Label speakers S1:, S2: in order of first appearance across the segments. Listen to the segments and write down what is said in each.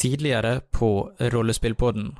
S1: tidligere på Rollespillpodden.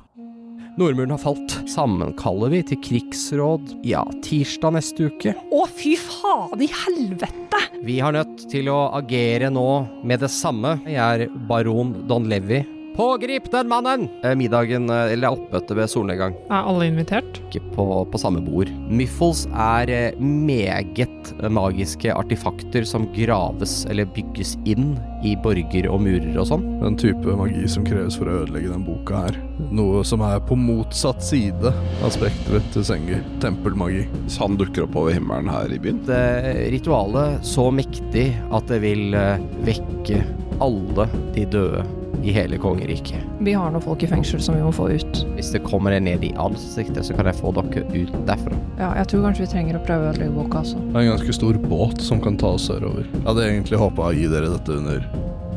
S2: Nordmuren har falt. Sammenkaller vi til krigsråd ja, tirsdag neste uke.
S3: Å, fy faen i helvete!
S2: Vi har nødt til å agere nå med det samme. Jeg er baron Don Levi. Pågrip den mannen! Eh, Middagen, eh, eller det er oppmøte ved solnedgang.
S4: Er alle invitert?
S2: Ikke på, på samme bord. Myffles er eh, meget eh, magiske artefakter som graves eller bygges inn i borger og murer og sånn.
S5: Den type magi som kreves for å ødelegge den boka her. Noe som er på motsatt side av spekteret til Sengi. Tempelmagi.
S6: Hvis han dukker opp over himmelen her i byen
S2: dette eh, ritualet så mektig at det vil eh, vekke alle de døde i hele kongeriket.
S4: Vi har noen folk i fengsel som vi må få ut.
S2: Hvis det kommer en ned i ansiktet, så kan jeg få dere ut derfra.
S4: Ja, jeg tror kanskje vi trenger å prøve å ødelegge boka, altså.
S5: Det er en ganske stor båt som kan ta oss sørover. Jeg hadde egentlig håpa å gi dere dette under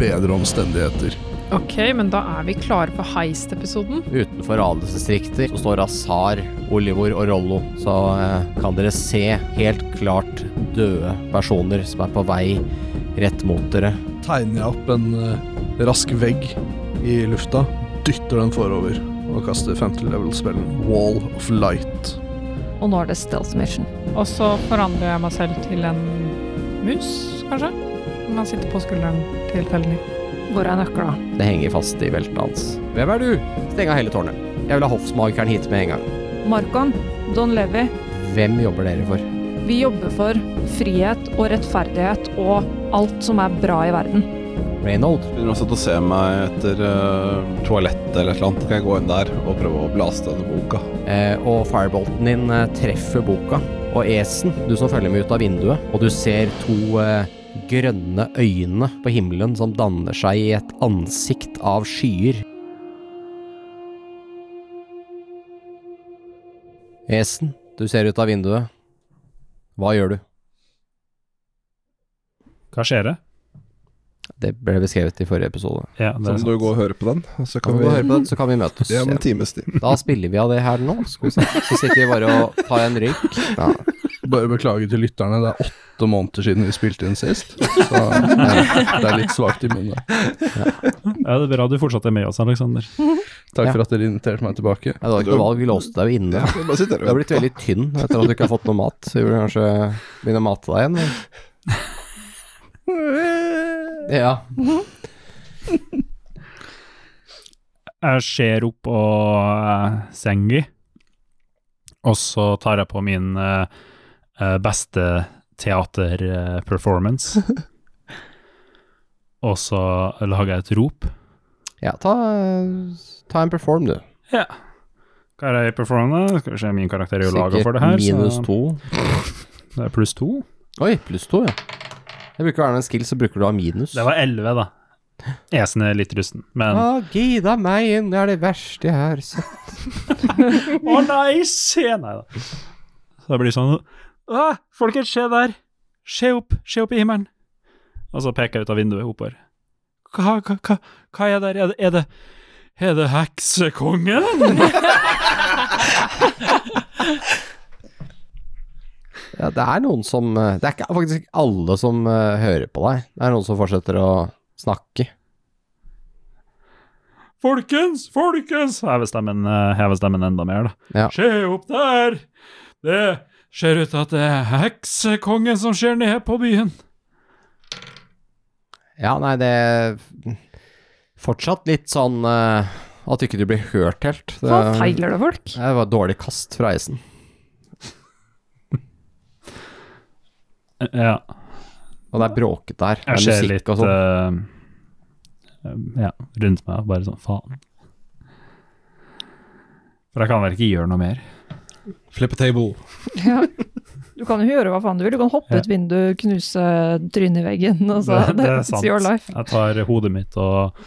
S5: bedre omstendigheter.
S4: Ok, men da er vi klare for heist-episoden.
S2: Utenfor adelsdistrikter så står Azar, Olivor og Rollo. Så eh, kan dere se helt klart døde personer som er på vei rett mot dere.
S5: Tegner jeg opp en eh, rask vegg i lufta, dytter den forover og kaster femte level-spillen Wall of Light.
S3: Og nå er det stealth mission.
S4: Og så forandrer jeg meg selv til en mus, kanskje? Man sitter på skulderen tilfeldig.
S3: Hvor er nøkla?
S2: Det henger fast i beltet hans. Hvem er du? Steng av hele tårnet. Jeg vil ha hoffsmakeren hit med en gang.
S3: Markon, Don Levi,
S2: Hvem jobber dere for?
S3: vi jobber for frihet og rettferdighet og alt som er bra i verden.
S2: Reynold?
S6: begynner også til å se meg etter eh, toalettet eller et eller annet. Kan jeg gå inn der og prøve å blaste denne boka?
S2: Eh, og firebolten din eh, treffer boka. Og Esen, du som følger med ut av vinduet, og du ser to eh, grønne øyne på himmelen som danner seg i et ansikt av skyer. Esen, du ser ut av vinduet. Hva gjør du?
S7: Hva skjer det?
S2: Det ble beskrevet i forrige episode.
S7: Ja,
S6: Så må
S7: det er
S6: du
S7: sant.
S6: gå og høre på den, så
S2: Kan
S6: kan
S2: vi
S6: vi
S2: høre på den, så kan vi møtes.
S6: Det er om
S2: igjen.
S6: en times tid.
S2: Da spiller vi av det her nå, skal vi se. Så sitter vi bare og tar en røyk. Ja.
S5: Bare beklager til lytterne, det er åtte måneder siden vi spilte inn sist. Så det er litt svakt i minnet.
S7: Ja, det er bra du fortsatt er med oss, Aleksander.
S5: Takk
S2: Ja.
S5: for at dere inviterte meg tilbake.
S2: Ja, Det var ikke noe valg, vi låste deg jo inne.
S6: Ja, jeg bare sitter
S2: Du
S6: her
S2: har
S6: og
S2: blitt veldig tynn etter at du ikke har fått noe mat. Så vi burde kanskje begynne å mate deg igjen. men- Ja.
S7: Jeg ser opp på eh, Sengi, og så tar jeg på min eh, eh, beste teaterperformance. og så lager jeg et rop.
S2: ja ta, ta en perform, du.
S7: Ja. Hva er det jeg performer? da? Skal vi se, min karakter er jo laga
S2: Sikkert
S7: for det her.
S2: minus
S7: så
S2: to.
S7: Det er pluss to.
S2: Oi, pluss to, ja. Det bruker å være en skill, så bruker du å ha minus.
S7: Det var elleve, da. Esen er litt rusten, men Å
S2: Å, gida Ah, meg inn, det er det verste jeg har sett.
S7: nei, se! Nei da. Så det blir sånn Å, folkens, se der! Se opp! Se opp i himmelen! Og så peker jeg ut av vinduet oppover. Hva, hva, hva, hva er der? Er det, er det Er det heksekongen?
S2: Ja, det er noen som eh, Det er ikke, faktisk ikke alle som eh, hører på deg. Det er noen som fortsetter å snakke.
S7: Folkens, folkens! Hever stemmen, eh, hever stemmen enda mer, da.
S2: Ja.
S7: Se opp der! Det ser ut til at det er heksekongen som ser ned på byen.
S2: Ja, nei, det Fortsatt litt sånn eh, at ikke du blir hørt helt. Det,
S3: Hva feiler det folk?
S2: Det var et dårlig kast fra isen.
S7: Eh, Ja.
S2: Og det er bråkete her. Det
S7: Jeg
S2: er
S7: ser
S2: musikk
S7: litt
S2: og sånn.
S7: eh, um, ja, rundt meg, bare sånn faen. For jeg kan vel ikke gjøre noe mer?
S6: Flip a table.
S3: Ja. Du kan jo gjøre hva faen du vil. Du kan hoppe
S7: Ja.
S3: ut vinduet, knuse trynet i veggen. Og så,
S7: Det- det er sant.
S3: It's your life.
S7: Jeg tar hodet mitt og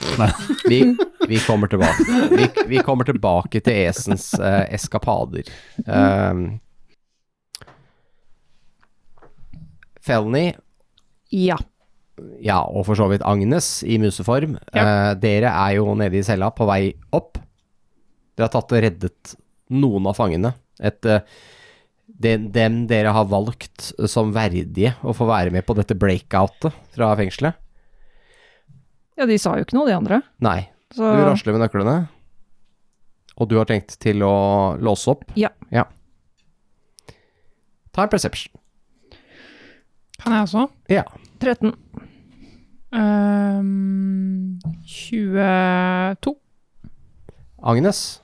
S2: Vi, vi kommer tilbake. Vi, vi kommer tilbake til Esens eh, eskapader. Um, Felny,
S3: Ja.
S2: ja, og for så vidt Agnes i museform, eh, dere er jo nede i cella på vei opp. Dere har tatt og reddet noen av fangene. Et, eh, de- dem dere har valgt som verdige å få være med på dette breakoutet fra fengselet.
S3: ja, de sa jo ikke noe, de andre.
S2: Nei,
S3: Så
S2: Du rasler med nøklene, og du har tenkt til å låse opp?
S3: Ja.
S2: Ta en perception.
S4: Kan jeg også?
S2: Ja.
S3: 13.
S4: Ehm, 22.
S2: Agnes,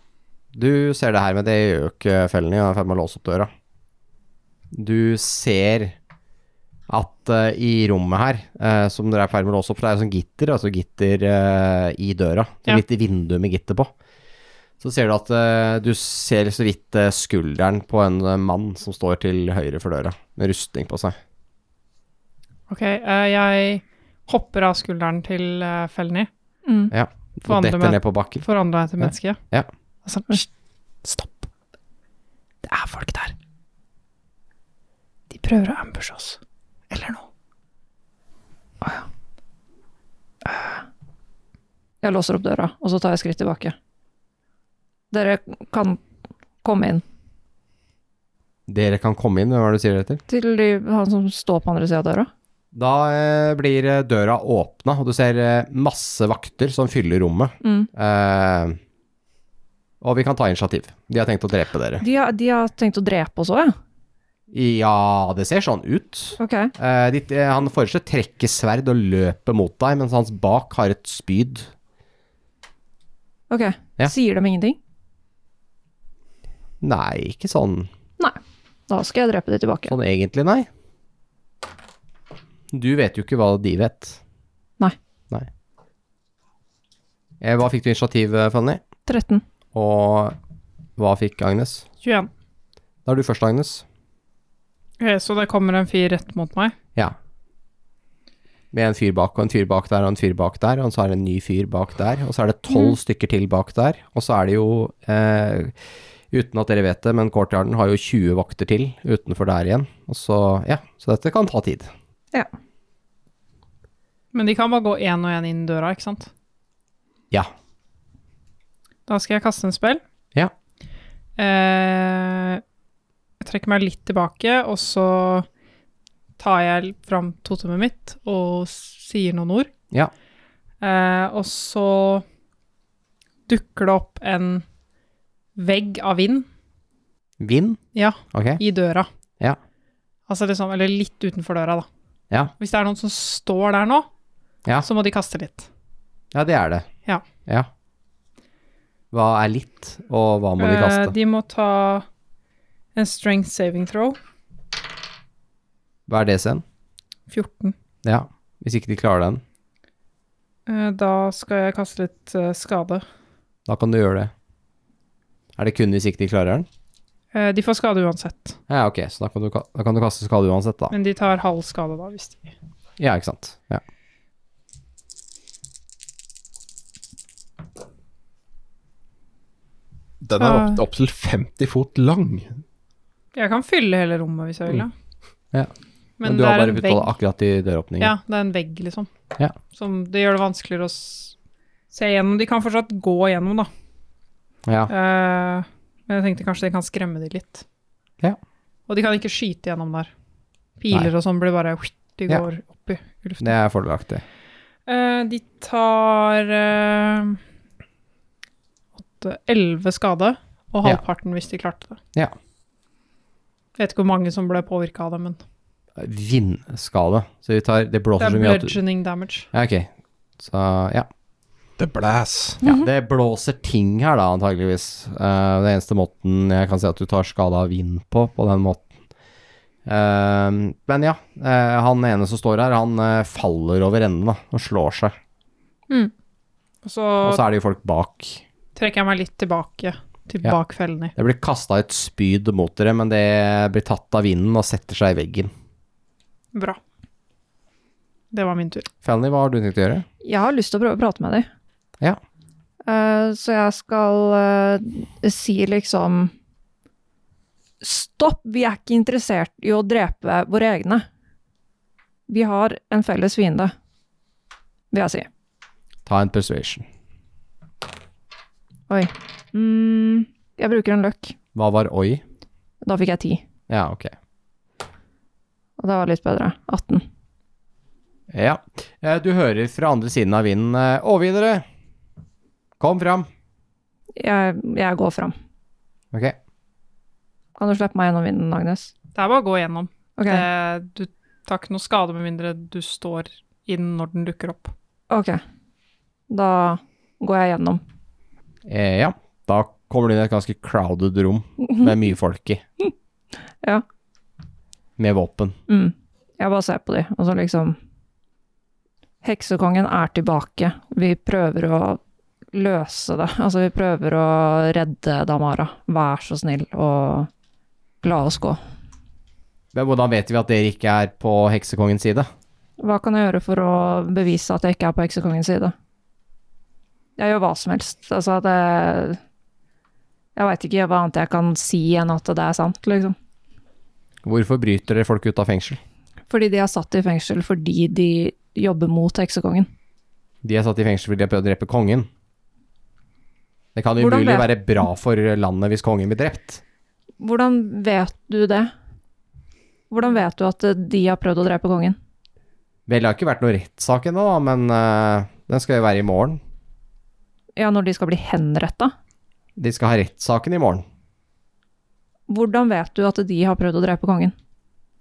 S2: du ser det her med det økefellene jeg er i ferd med å låse opp døra. Du ser at eh, i rommet her, eh, som dere er i ferd med å låse opp, så er det sånn gitter, altså gitter eh, i døra.
S4: Ja.
S2: Litt i vinduet med gitter på. Så ser du at eh, du ser så vidt eh, skulderen på en eh, mann som står til høyre for døra, med rustning på seg.
S4: Ok, eh, jeg hopper av skulderen til uh, Felny.
S3: Mm.
S2: Og
S4: Forandre
S2: detter
S4: meg.
S2: ned på bakken.
S4: Forandra jeg til
S2: Ja.
S4: menneske?
S2: Ja.
S4: Og sånn, «Hysj, stopp. Det er folk der. De prøver å ambushe oss. Eller noe.
S3: Eh. Jeg låser opp døra, og så tar jeg skritt tilbake. Dere kan komme inn
S2: Dere kan komme inn, hvem er det du sier det til?
S3: til de, han som står på andre sida av døra.
S2: Da eh, blir eh, døra åpna, og du ser eh, masse vakter som fyller rommet.
S3: Mm.
S2: Eh, og vi kan ta initiativ. De har tenkt å drepe dere.
S3: De har, de har tenkt å drepe oss òg, ja.
S2: Ja, det ser sånn ut.
S3: Ok.
S2: Eh, ditt, eh, han foreslår trekke sverd og løpe mot deg, mens hans bak har et spyd.
S3: ok.
S2: Ja.
S3: Sier dem ingenting?
S2: Nei, ikke sånn,
S3: Da skal jeg drepe de tilbake.
S2: sånn egentlig, nei. Du vet jo ikke hva de vet.
S3: Nei.
S2: Nei. Eh, hva fikk du initiativ, eh, Fanny?
S3: 13.
S2: Og hva fikk Agnes?
S4: 21.
S2: Da er du først, Agnes.
S4: Ok, så det kommer en fyr rett mot meg.
S2: Ja. Med en fyr bak og en fyr bak der og en fyr bak der, og så er det en ny fyr bak der, og så er det tolv stykker til bak der, og så er det jo eh, Uten at dere vet det, men courtyarden har jo 20 vakter til utenfor der igjen. Og så, ja, så dette kan ta tid.
S4: Men de kan bare gå én og én inn døra, ikke sant?
S2: Ja.
S4: Da skal jeg kaste en spill.
S2: Ja.
S4: Eh, jeg trekker meg litt tilbake, og så tar jeg fram totemmet mitt og sier noen ord.
S2: Ja.
S4: Eh, og så dukker det opp en vegg av vind.
S2: Vind,
S4: Ja,
S2: ok?
S4: i døra.
S2: Ja.
S4: Altså liksom, eller litt utenfor døra, da.
S2: Ja.
S4: Hvis det er noen som står der nå,
S2: Ja.
S4: så må de kaste litt.
S2: Ja, det er det.
S4: Ja.
S2: ja. Hva er litt, og hva må de
S4: Eh,
S2: kaste?
S4: de må ta en strength saving throw.
S2: Hva er DC-en?
S4: 14.
S2: Ja. Hvis ikke de klarer den,
S4: Eh, da skal jeg kaste litt eh, skade.
S2: da kan du gjøre det. Er det kun hvis ikke de klarer den?
S4: Eh, de får skade uansett,
S2: Ja, ok, så da kan du, ka- da kan du kaste skade uansett, da.
S4: men de tar halv skade da, hvis de
S2: Ja, ikke sant. Ja.
S6: Den er opp- opptil 50 fot lang.
S4: Jeg kan fylle hele rommet hvis jeg vil, ja.
S2: Mm. Ja. Men,
S4: Men,
S2: du
S4: det
S2: har
S4: er
S2: bare
S4: en
S2: putta det
S4: vegg.
S2: akkurat i døråpningen.
S4: Ja, det er en vegg, liksom.
S2: Ja.
S4: Som det gjør det vanskeligere å s- se gjennom. De kan fortsatt gå gjennom, da.
S2: Ja.
S4: Eh, men jeg tenkte kanskje det kan skremme de litt.
S2: Ja.
S4: Og de kan ikke skyte gjennom der. Piler og sånn blir bare De
S2: Ja.
S4: går opp i luften.
S2: Det er fordelaktig.
S4: Eh, de tar eh, åtte, elleve skade,
S2: Ja.
S4: og halvparten hvis de klarte det.
S2: Ja.
S4: Vet ikke hvor mange som ble påvirka av det, men
S2: Vindskade. Så vi tar Det
S4: det
S2: blåser
S4: er
S2: så mye at du-
S4: bludgeoning damage.
S2: Ja, ok. Så ja.
S6: Det blæs.
S2: ja.
S4: Mhm.
S2: Det blåser ting her, da, antageligvis. Eh, det eneste måten jeg kan si at du tar skade av vind på, på den måten. Eh, men ja, eh, han ene som står her, han eh, faller over enden da, og slår seg.
S4: Og så,
S2: Og så er det jo folk bak.
S4: trekker jeg meg litt tilbake, til
S2: Ja.
S4: bak fellene.
S2: Det blir kasta et spyd mot dere, men det blir tatt av vinden og setter seg i veggen.
S4: Bra. Det var min tur.
S2: Fanny, hva har du tenkt å gjøre?
S3: Jeg har lyst til å prøve å prate med dem.
S2: Ja.
S3: så jeg skal eh, si liksom Stopp, vi er ikke interessert i å drepe våre egne. Vi har en felles fiende, vil jeg si.
S2: Ta en persuasion.
S3: Oi. Mm, jeg bruker en løkk.
S2: Hva var oi?
S3: Da fikk jeg 10,
S2: Ja, ok.
S3: og det var litt bedre. 18.
S2: Ja. Eh, Du hører fra andre siden av vinden eh, Overgi dere! Kom fram.
S3: Jeg, jeg går fram.
S2: Ok.
S3: Kan du slippe meg gjennom vinden, Agnes?
S4: Det er bare å gå gjennom.
S3: Ok.
S4: Eh. Det, du tar ikke noe skade med mindre du står i den når den dukker opp.
S3: ok. Da går jeg gjennom.
S2: Eh, ja. Da kommer du inn i et ganske crowded rom med mye folk i.
S3: Ja.
S2: Med våpen.
S3: Mm. Jeg bare ser på de, og så liksom Heksekongen er tilbake. Vi prøver å løse det. Altså, vi prøver å redde Damara. Vær så snill, og la oss gå.
S2: Men hvordan vet vi at dere ikke er på heksekongens side?
S3: Hva kan jeg gjøre for å bevise at jeg ikke er på heksekongens side? Jeg gjør hva som helst. Altså, det Jeg veit ikke hva annet jeg kan si enn at det er sant, liksom.
S2: Hvorfor bryter dere folk ut av fengsel?
S3: Fordi de er satt i fengsel fordi de jobber mot heksekongen.
S2: De er satt i fengsel fordi de har prøvd å drepe kongen. Det kan
S3: Hvordan
S2: umulig være
S3: vet-
S2: bra for landet hvis kongen blir drept.
S3: Hvordan vet du det? Hvordan vet du at eh, de har prøvd å drepe kongen?
S2: Vel, det har ikke vært noen rettssak ennå, da, men eh, den skal jo være i morgen.
S3: Ja, når de skal bli henretta?
S2: De skal ha rettssaken i morgen.
S3: Hvordan vet du at de har prøvd å drepe kongen?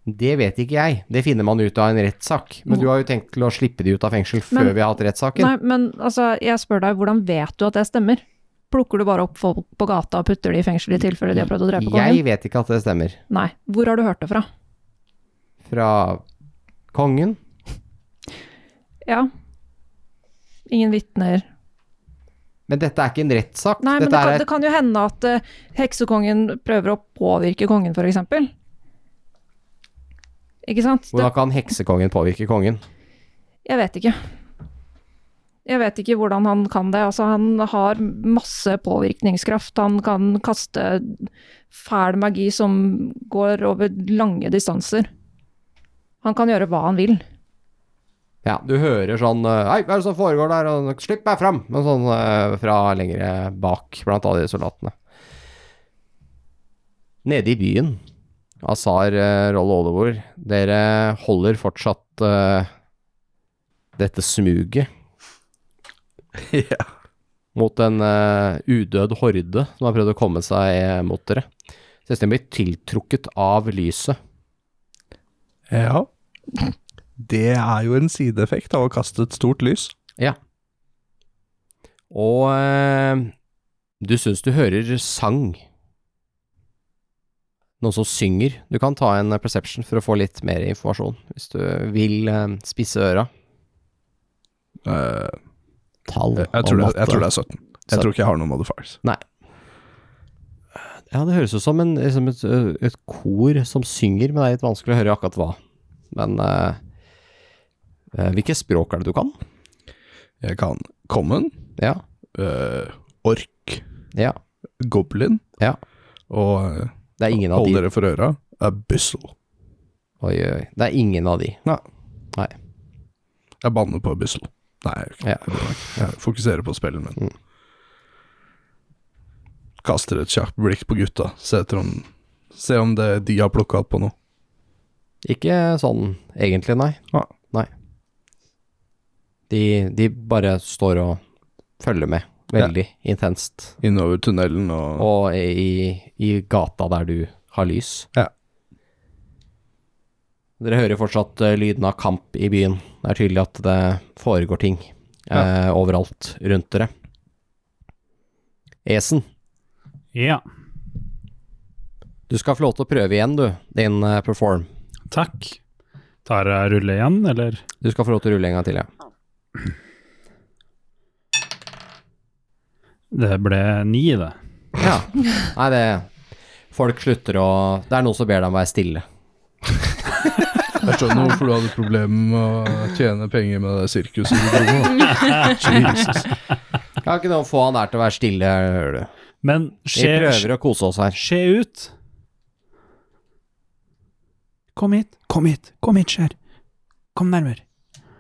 S2: Det vet ikke jeg. Det finner man ut av en rettssak. Men du har jo tenkt til å slippe de ut av fengsel før
S3: Men-
S2: vi har hatt rettssaken.
S3: Nei, men altså, jeg spør deg, hvordan vet du at det stemmer? Plukker du bare opp folk på gata og putter de i fengsel i tilfelle de har prøvd å drepe kongen?
S2: Jeg vet ikke at det stemmer.
S3: Nei. Hvor har du hørt det fra?
S2: Fra kongen?
S3: Ja. Ingen vitner.
S2: Men dette er ikke en rettssak.
S3: Nei, men
S2: Dette
S3: det kan,
S2: er
S3: det kan jo hende at eh, heksekongen prøver å påvirke kongen, for eksempel. Ikke sant? Det-
S2: Hvordan kan heksekongen påvirke kongen?
S3: Jeg vet ikke. Jeg vet ikke hvordan han kan det. Altså, han har masse påvirkningskraft. Han kan kaste fæl magi som går over lange distanser. Han kan gjøre hva han vil.
S2: Ja, du hører sånn eh, Hei, hva er det som foregår der? Og, Slipp meg fram! Men sånn eh, fra lengre bak, blant alle de soldatene. Nede i byen, Azar, eh, Roll og Olivor, dere holder fortsatt eh, dette smuget
S5: Ja.
S2: mot en eh, udød horde som har prøvd å komme seg eh, mot dere. Søsteren blir tiltrukket av lyset.
S5: Ja. Det er jo en sideeffekt av å kaste et stort lys.
S2: Og eh, du syns du hører sang. Noen som synger. Du kan ta en eh, perception for å få litt mer informasjon, hvis du vil eh, spisse øra.
S5: Eh,
S2: Tall
S5: jeg, tror det,
S2: og matte.
S5: jeg tror det er 17. Jeg tror ikke jeg har noen modifiers.
S2: Ja, det høres ut som, en, som et, ø, et kor som synger, men det er litt vanskelig å høre akkurat hva. Men eh, eh, hvilke språk er det du kan?
S5: Jeg kan common,
S2: Ja.
S5: eh, ork,
S2: ja.
S5: goblin
S2: Ja.
S5: og eh,
S2: Det er ingen av
S5: Hold
S2: de.
S5: dere for øra. Abyssal.
S2: Oi, oi. Det er ingen av de.
S5: Jeg banner på Abyssal. Nei, jeg, gjør ikke
S2: Ja. Mm.
S5: det. jeg fokuserer på spillen min. Kaster et kjapt blikk på gutta. Se, etter om, se om det de har plukka opp på noe.
S2: Ikke sånn egentlig, nei.
S5: Ah.
S2: Nei. De, de bare står og følger med, veldig intenst.
S5: Innover tunnelen og,
S2: Og i, i gata der du har lys.
S5: Ja.
S2: Dere hører fortsatt eh, lyden av kamp i byen. Det er tydelig at det foregår ting eh, overalt rundt dere. Esen,
S7: Ja,
S2: du skal få lov til å prøve igjen, du, din eh, perform.
S7: takk. Tar jeg rulle igjen, eller?
S2: Du skal få lov til å rulle en gang til, ja.
S7: Det ble ni, det.
S2: Ja. Nei, det Folk slutter å Det er noen som ber deg om å være stille.
S5: Jeg skjønner hvorfor du hadde problemer med å tjene penger med det sirkuset du dro med. Jesus.
S2: Kan ikke noen få han der til å være stille, hører du.
S7: Men
S2: Vi
S7: skje,
S2: prøver å kose oss her.
S7: skje ut. Kom hit, kom hit, kom hit, skjer. Kom nærmere.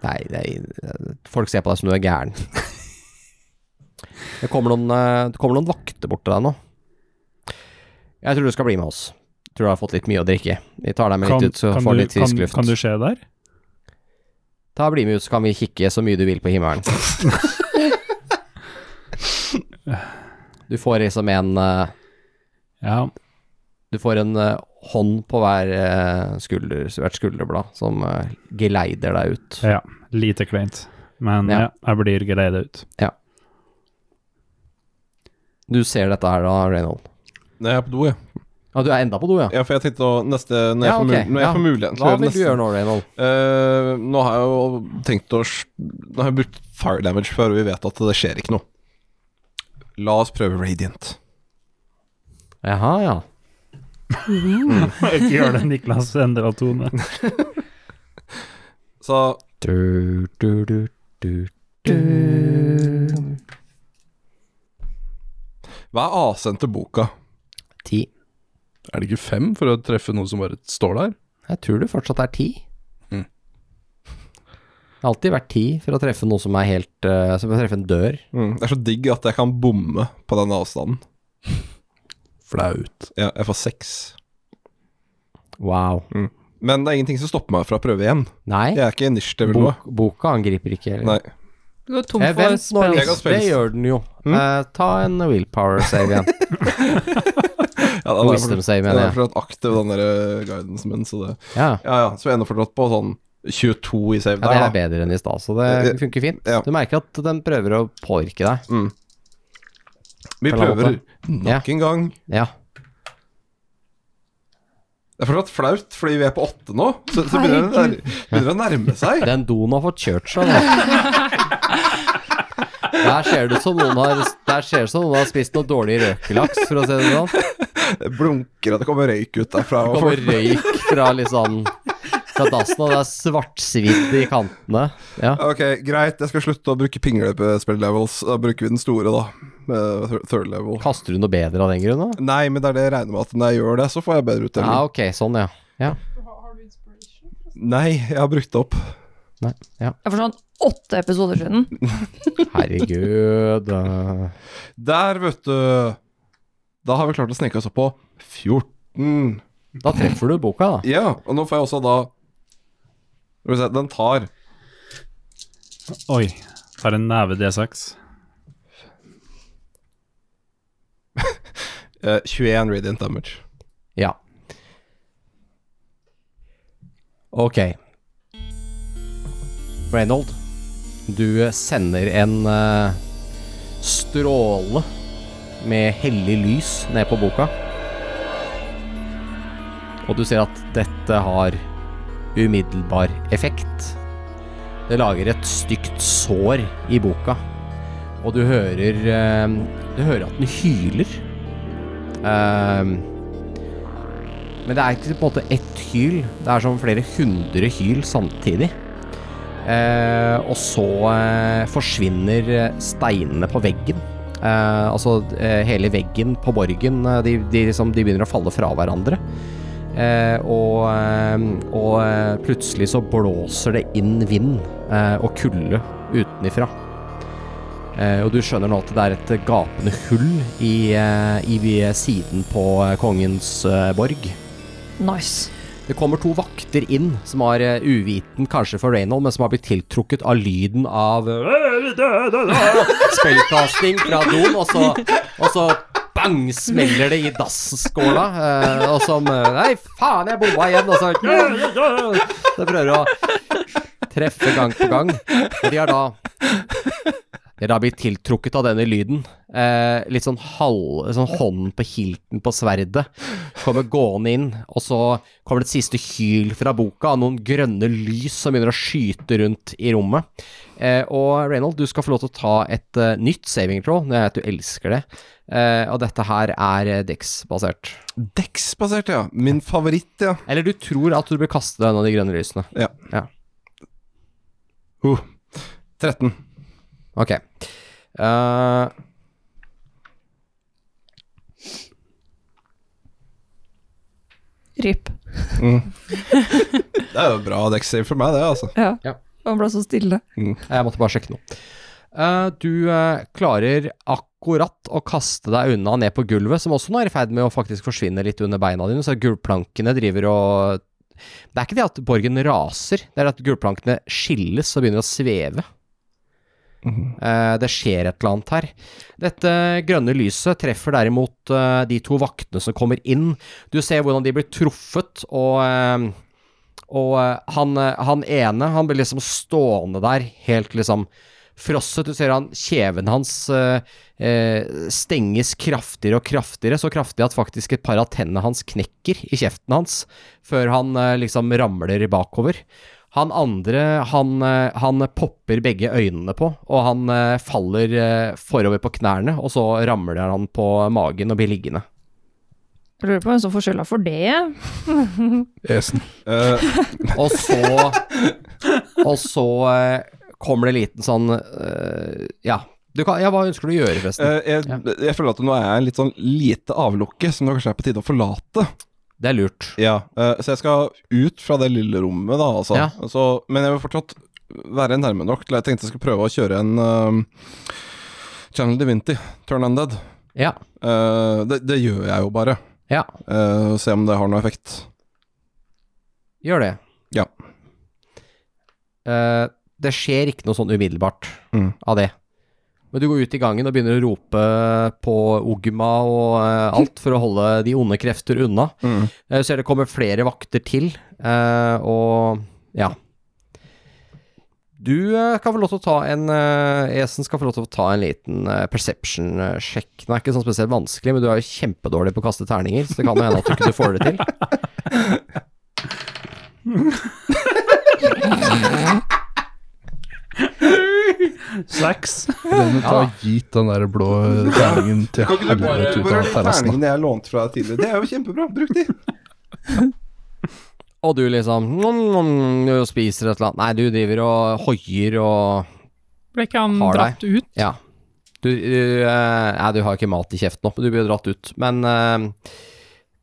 S2: Nei, det er, folk ser på deg som du er gæren. Det kommer noen, eh, det kommer noen vakter bort til deg nå. Jeg tror du skal bli med oss. Tror du har fått litt mye å drikke. Vi tar deg med litt ut, så
S7: kan
S2: får
S7: du-
S2: du litt frisk
S7: kan,
S2: luft.
S7: kan du se der?
S2: Ta Bli med ut, så kan vi kikke så mye du vil på himmelen. Du får liksom en eh,
S7: Ja.
S2: Du får en eh, hånd på hver eh, skulder, hvert skulderblad som eh, geleider deg ut.
S7: ja. Lite kleint. Men
S2: Ja.
S7: ja. jeg blir geleida ut.
S2: Du ser dette her da, Reynold.
S6: Nei, jeg er på do, jeg.
S2: Ja, du er enda på do, ja.
S6: Ja, for jeg tenkte å neste Når jeg,
S2: Ja,
S6: får,
S2: ok,
S6: mul- når jeg
S2: ja.
S6: får muligheten til å
S2: Hva
S6: gjøre
S2: vil du
S6: neste
S2: gjøre nå, Reynold?
S6: Eh, nå har jeg jo tenkt å s- Nå har jeg brukt fire damage før, og vi vet at det skjer ikke noe. La oss prøve radiant.
S2: Jaha, ja.
S7: Ikke gjør det, Niklas endra tone.
S6: Så
S2: Du, du, du, du.
S6: hva er AC-en til boka?
S2: Ti.
S5: Er det ikke fem for å treffe noe som bare står der?
S2: Jeg tror det fortsatt er ti.
S6: Mm.
S2: Det har alltid vært ti for å treffe noe som er helt eh, Som å treffe en dør.
S6: Mm, det er så digg at jeg kan bomme på den avstanden.
S5: Flaut.
S6: Ja, jeg får seks.
S2: Wow.
S6: Mm. Men det er ingenting som stopper meg fra å prøve igjen.
S2: Nei,
S6: Jeg er ikke initiativ eller noe.
S2: bok, boka angriper ikke. Eller?
S6: Nei.
S4: Du går tom
S2: Eh,
S4: for
S2: vent nå,
S6: Jeg
S4: spell.
S6: kan
S2: Nils. Det
S6: spilles.
S2: gjør den jo. Eh, ta en willpower save igjen.
S6: Ja, den er
S2: Wisdom
S6: fortsatt-
S2: save,
S6: Den er
S2: mener jeg.
S6: fortsatt aktiv, den der eh, guidance min, så det
S2: Ja.
S6: Ja ja, så jeg ender fortsatt på sånn 22 i save
S2: Ja, det
S6: der,
S2: er
S6: da. Eh,
S2: bedre enn i stad, så det funker fint.
S6: Ja.
S2: Du merker at den prøver å påvirke deg. på en
S6: Vi
S2: eller
S6: prøver
S2: annen
S6: nok en gang.
S2: Ja.
S6: Det er fortsatt flaut, fordi vi er på åtte nå. Så, så begynner det å nær- begynner det å nærme seg.
S2: Den doen har fått kjørt seg nå. Der ser det ut som noen har, der ser det som noen har spist noe dårlig røkelaks, for å si det sånn.
S6: Det blunker, og det kommer røyk ut derfra.
S2: Det
S6: Og
S2: kommer
S6: folk,
S2: røyk fra litt sånn fra dassen, og det er svartsvidd i kantene. Ja.
S6: ok, greit, jeg skal slutte å bruke pinglespill levels. Da bruker vi den store, da. Med th- third level.
S2: Kaster du noe bedre av den grunn, da?
S6: Nei, men det er det jeg regner med at når jeg gjør det, så får jeg bedre uttelling.
S2: Ja, ok, sånn, ja. Ja.
S6: Nei, jeg har brukt det opp.
S2: Nei. ja.
S3: Jeg får sånn åtte episoder siden.
S2: Herregud. eh.
S6: Der, vet du Da har vi klart å sneke oss opp på 14.
S2: Da treffer du boka, da.
S6: Ja, og nå får jeg også da Skal vi se, den tar
S7: Oi. Tar en neve D6.
S6: eh, 21 radiant damage.
S2: Ja. Ok. Reynold, du sender en eh, stråle med hellig lys ned på boka. Og du ser at dette har umiddelbar effekt. Det lager et stygt sår i boka, og du hører eh, Du hører at den hyler. Eh, men det er ikke på en måte ett hyl. Det er som flere hundre hyl samtidig. Eh, og så eh, forsvinner eh, steinene på veggen. Eh, altså eh, hele veggen på borgen. eh, De, de, liksom, de begynner å falle fra hverandre. Eh, og, eh, og eh, plutselig så blåser det inn vind eh, og kulde utenifra. Eh, og du skjønner nå at det er et gapende hull i, eh, i siden på eh, kongens eh, borg.
S3: Nice.
S2: Det kommer to vakter inn, som har eh, uviten kanskje for Reynold, men som har blitt tiltrukket av lyden av spellcasting fra doen, og så, og så bang, smeller det i dasskåla, eh, og som eh, Nei, faen, jeg bomma igjen, og så Det prøver å treffe gang på gang. Og de har da dere har blitt tiltrukket av denne lyden. Eh, litt sånn halv sånn Hånden på hilten på sverdet kommer gående inn, og så kommer det et siste hyl fra boka av noen grønne lys som begynner å skyte rundt i rommet. Eh, og Reynold, du skal få lov til å ta et eh, nytt saving throw. Det er at du elsker det. Eh, og dette her er eh, Dex-basert.
S6: Dex-basert, ja. Min favoritt, ja.
S2: Eller du tror at du blir kastet av en av de grønne lysene.
S6: Ja.
S2: Ja.
S6: Uh, 13.
S2: Ok. Eh,
S3: Rip.
S6: Det er jo bra dekksave for meg, det, altså.
S3: Ja.
S2: Ja.
S3: Han ble så stille.
S2: Jeg måtte bare sjekke noe. Eh, du eh, klarer akkurat å kaste deg unna ned på gulvet, som også nå er i ferd med å faktisk forsvinne litt under beina dine, så gulvplankene driver og Det er ikke det at borgen raser, det er at gulvplankene skilles og begynner å sveve. Eh, det skjer et eller annet her. Dette grønne lyset treffer derimot eh, de to vaktene som kommer inn. Du ser hvordan de blir truffet, og, eh, og eh, han, eh, han ene han blir liksom stående der, helt liksom frosset. Du ser han, kjeven hans eh, eh, stenges kraftigere og kraftigere, så kraftig at faktisk et par av tennene hans knekker i kjeften hans, før han eh, liksom ramler bakover. Han andre, han, eh, han popper begge øynene på, og han eh, faller eh, forover på knærne, og så ramler han på magen og blir liggende.
S3: Jeg lurer på hvem som får skylda for det.
S5: Esen.
S6: Eh,
S2: Og så Og så eh, kommer det en liten sånn eh, Ja. Du kan, ja, hva ønsker du å gjøre, forresten?
S6: eh, jeg, jeg føler at nå er jeg litt sånn lite avlukke, som det kanskje er på tide å forlate.
S2: Det er lurt.
S6: Ja, eh, så jeg skal ut fra det lille rommet, da, altså.
S2: Ja.
S6: Så- men jeg vil fortsatt være nærme nok til jeg tenkte jeg skulle prøve å kjøre en eh, Channel Divinity, Turn Undead.
S2: Ja.
S6: Eh, det, det gjør jeg jo bare.
S2: ja.
S6: Eh, se om det har noe effekt.
S2: Gjør det.
S6: Ja.
S2: Eh, det skjer ikke noe sånn umiddelbart
S6: Mm.
S2: av det. Men du går ut i gangen og begynner å rope på Ogma og eh, alt for å holde de onde krefter unna.
S6: Mm.
S2: Eh, Du ser det kommer flere vakter til, eh, og ja. Du eh, kan få lov til å ta en eh, Esen skal få lov til å ta en liten eh, perception-sjekk. Den er ikke sånn spesielt vanskelig, men du er jo kjempedårlig på å kaste terninger, så det kan jo hende at du ikke får det til.
S7: Seks.
S5: Rene, ta og Gitt den der blå terningen til helvete ut av terrassen. da.
S6: jeg lånte fra deg tidligere? Det er jo kjempebra, bruk de!
S2: Og du liksom nom, nom, du spiser et eller annet Nei, du driver og hoier og
S4: Ble ikke han
S2: Har deg.
S4: dratt ut?
S2: Ja. Du, du eh, Nei, du har ikke mat i kjeften nå, men du blir jo dratt ut. Men eh,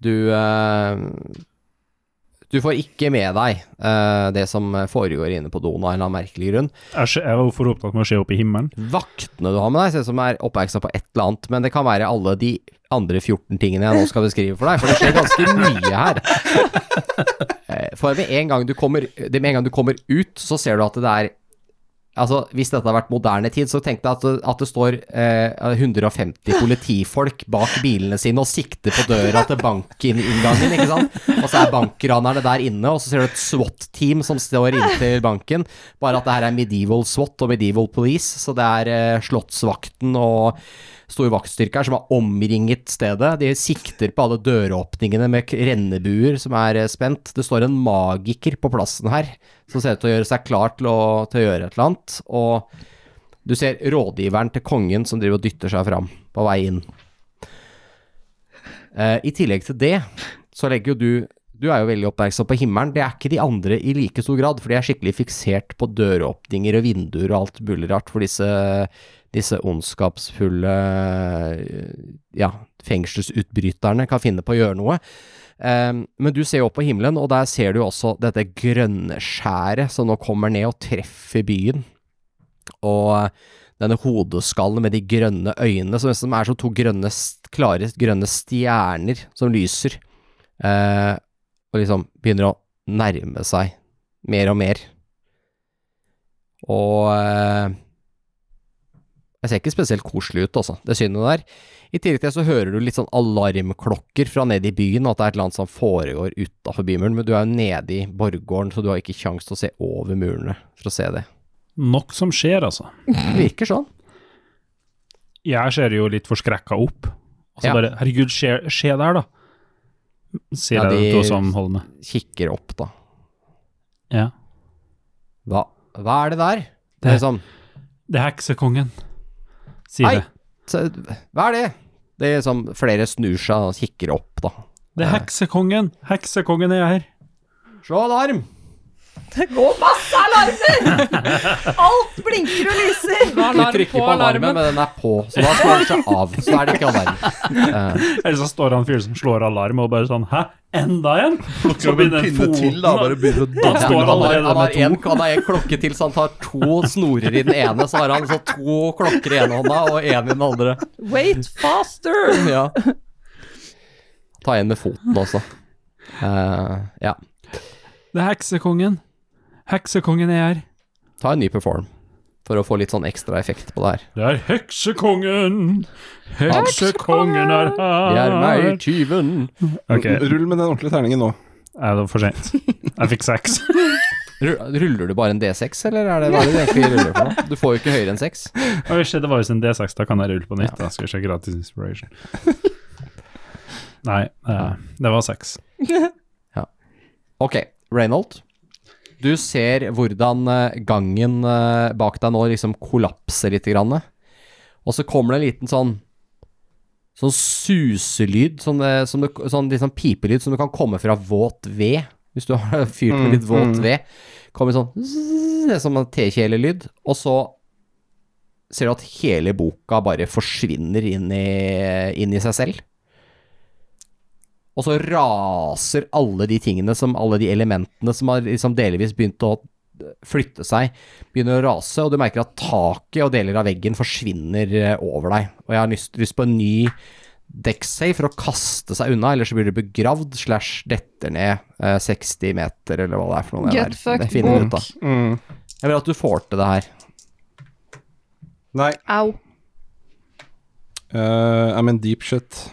S2: du eh, Du får ikke med deg eh, det som foregår inne på doen av en eller annen merkelig grunn.
S7: Jeg skj- jeg var jo for opptatt med å se opp i himmelen.
S2: Vaktene du har med deg, ser ut som er oppmerksom på et eller annet, men det kan være alle de andre 14 tingene jeg nå skal beskrive for deg, for det skjer ganske mye her. Eh, For med en gang du kommer, det med en gang du kommer ut, så ser du at det er Altså, Hvis dette har vært moderne tid, så tenk deg at, det- at det står eh, 150 politifolk bak bilene sine og sikter på døra til bankinngangen, ikke sant. Og så er bankranerne der inne, og så ser du et SWAT-team som står inntil banken. Bare at det her er medieval SWAT og medieval police, så det er eh, Slottsvakten og stor vaktstyrke her som har omringet stedet. De sikter på alle døråpningene med k- rennebuer som er eh, spent. Det står en magiker på plassen her som ser ut til å gjøre seg klar til å, til å gjøre et eller annet. Og du ser rådgiveren til kongen som driver og dytter seg fram på vei inn. Eh, I tillegg til det så legger jo du Du er jo veldig oppmerksom på himmelen. Det er ikke de andre i like stor grad, for de er skikkelig fiksert på døråpninger og vinduer og alt mulig rart for disse, disse ondskapsfulle eh, ja, fengselsutbryterne kan finne på å gjøre noe. Ehm, men du ser jo opp på himmelen, og der ser du jo også dette grønne skjæret som nå kommer ned og treffer byen. Og eh, denne hodeskallen med de grønne øynene, som nesten er som to grønne, s- klare grønne stjerner som lyser, eh, og liksom begynner å nærme seg mer og mer. Og eh, jeg ser ikke spesielt koselig ut, altså, det synet der. I tillegg til det så hører du litt sånn alarmklokker fra nede i byen, og at det er et eller annet som foregår utafor bymuren, men du er jo nede i borggården, så du har ikke kjangs til å se over murene for å se det.
S7: Nok som skjer, altså.
S2: Det virker sånn.
S7: Jeg ser jo litt forskrekka opp. Og så
S2: Ja.
S7: bare Herregud, skje, skje der, da. Sier
S2: Ja,
S7: jeg
S2: de-
S7: til som holder med.
S2: Kikker opp, da.
S7: Ja.
S2: Hva, hva er det der? Det er liksom
S7: Det er heksekongen, sier
S2: Hei.
S7: jeg.
S2: så, Hva er det? Det er liksom flere snur seg og kikker opp, da.
S7: Det er heksekongen! Heksekongen er her.
S2: Slå alarm!
S3: Det går masse alarmer! Alt blinker og lyser!
S2: Du
S4: Alarm
S2: trykker
S4: på
S2: på alarmen,
S4: alarmen.
S2: men den er på, så da slår den seg av. Så er det ikke alarm.
S7: Eller så står han fyren som slår alarm, og bare sånn Hæ, enda en? Og så begynner
S5: En pinne til, da. Bare begynner å
S7: Han
S2: Han
S7: står
S2: har,
S7: allerede
S2: han, har
S7: med
S2: en,
S7: to.
S2: han har en klokke til, så han tar to snorer i den ene. Så har han så to klokker i ene hånda og én i den andre.
S3: Wait faster!
S2: Ja. Ta en med foten også. Eh, ja.
S7: Det er heksekongen. Heksekongen er her.
S2: Ta en ny perform. For å få litt sånn ekstra effekt på det her.
S7: Det er heksekongen! Heksekongen er her!
S2: Det er meg, tyven!
S7: Ok, jeg
S6: Rull med den ordentlige terningen nå.
S7: det var for sent. Jeg fikk seks.
S2: Ru- Ruller du bare en D6, eller er det hva er det du egentlig ruller for noe? Du får jo ikke høyere enn 6.
S7: Oi, shit, det var jo sin D6, da kan jeg rulle på nytt. Da skal jeg sjekke gratis inspiration. Nei, eh, det var seks.
S2: Ok, Reynold. Du ser hvordan eh, gangen eh, bak deg nå liksom kollapser litt. Grann, og så kommer det en liten sånn Sånn suselyd, sånn, eh, som du, sånn litt sånn pipelyd som du kan komme fra våt ved. Hvis du har fyrt med litt våt ved. Kommer sånn zzz, det er som en tekjelelyd. Og så ser du at hele boka bare forsvinner inn i, inn i seg selv. Og så raser alle de tingene som alle de elementene som har liksom delvis begynt å flytte seg, begynner å rase, og du merker at taket og deler av veggen forsvinner eh, over deg. Og jeg har lyst, lyst på en ny dekksave for å kaste seg unna, ellers så blir du begravd slash detter ned eh, 60 meter, eller hva det er for noe. det
S3: Get
S2: der.
S3: fucked,
S2: det finner vi
S3: bok.
S2: ut av. Jeg vil at du får til det her.
S6: Nei.
S3: Au.
S6: Uh, I'm in deep shit.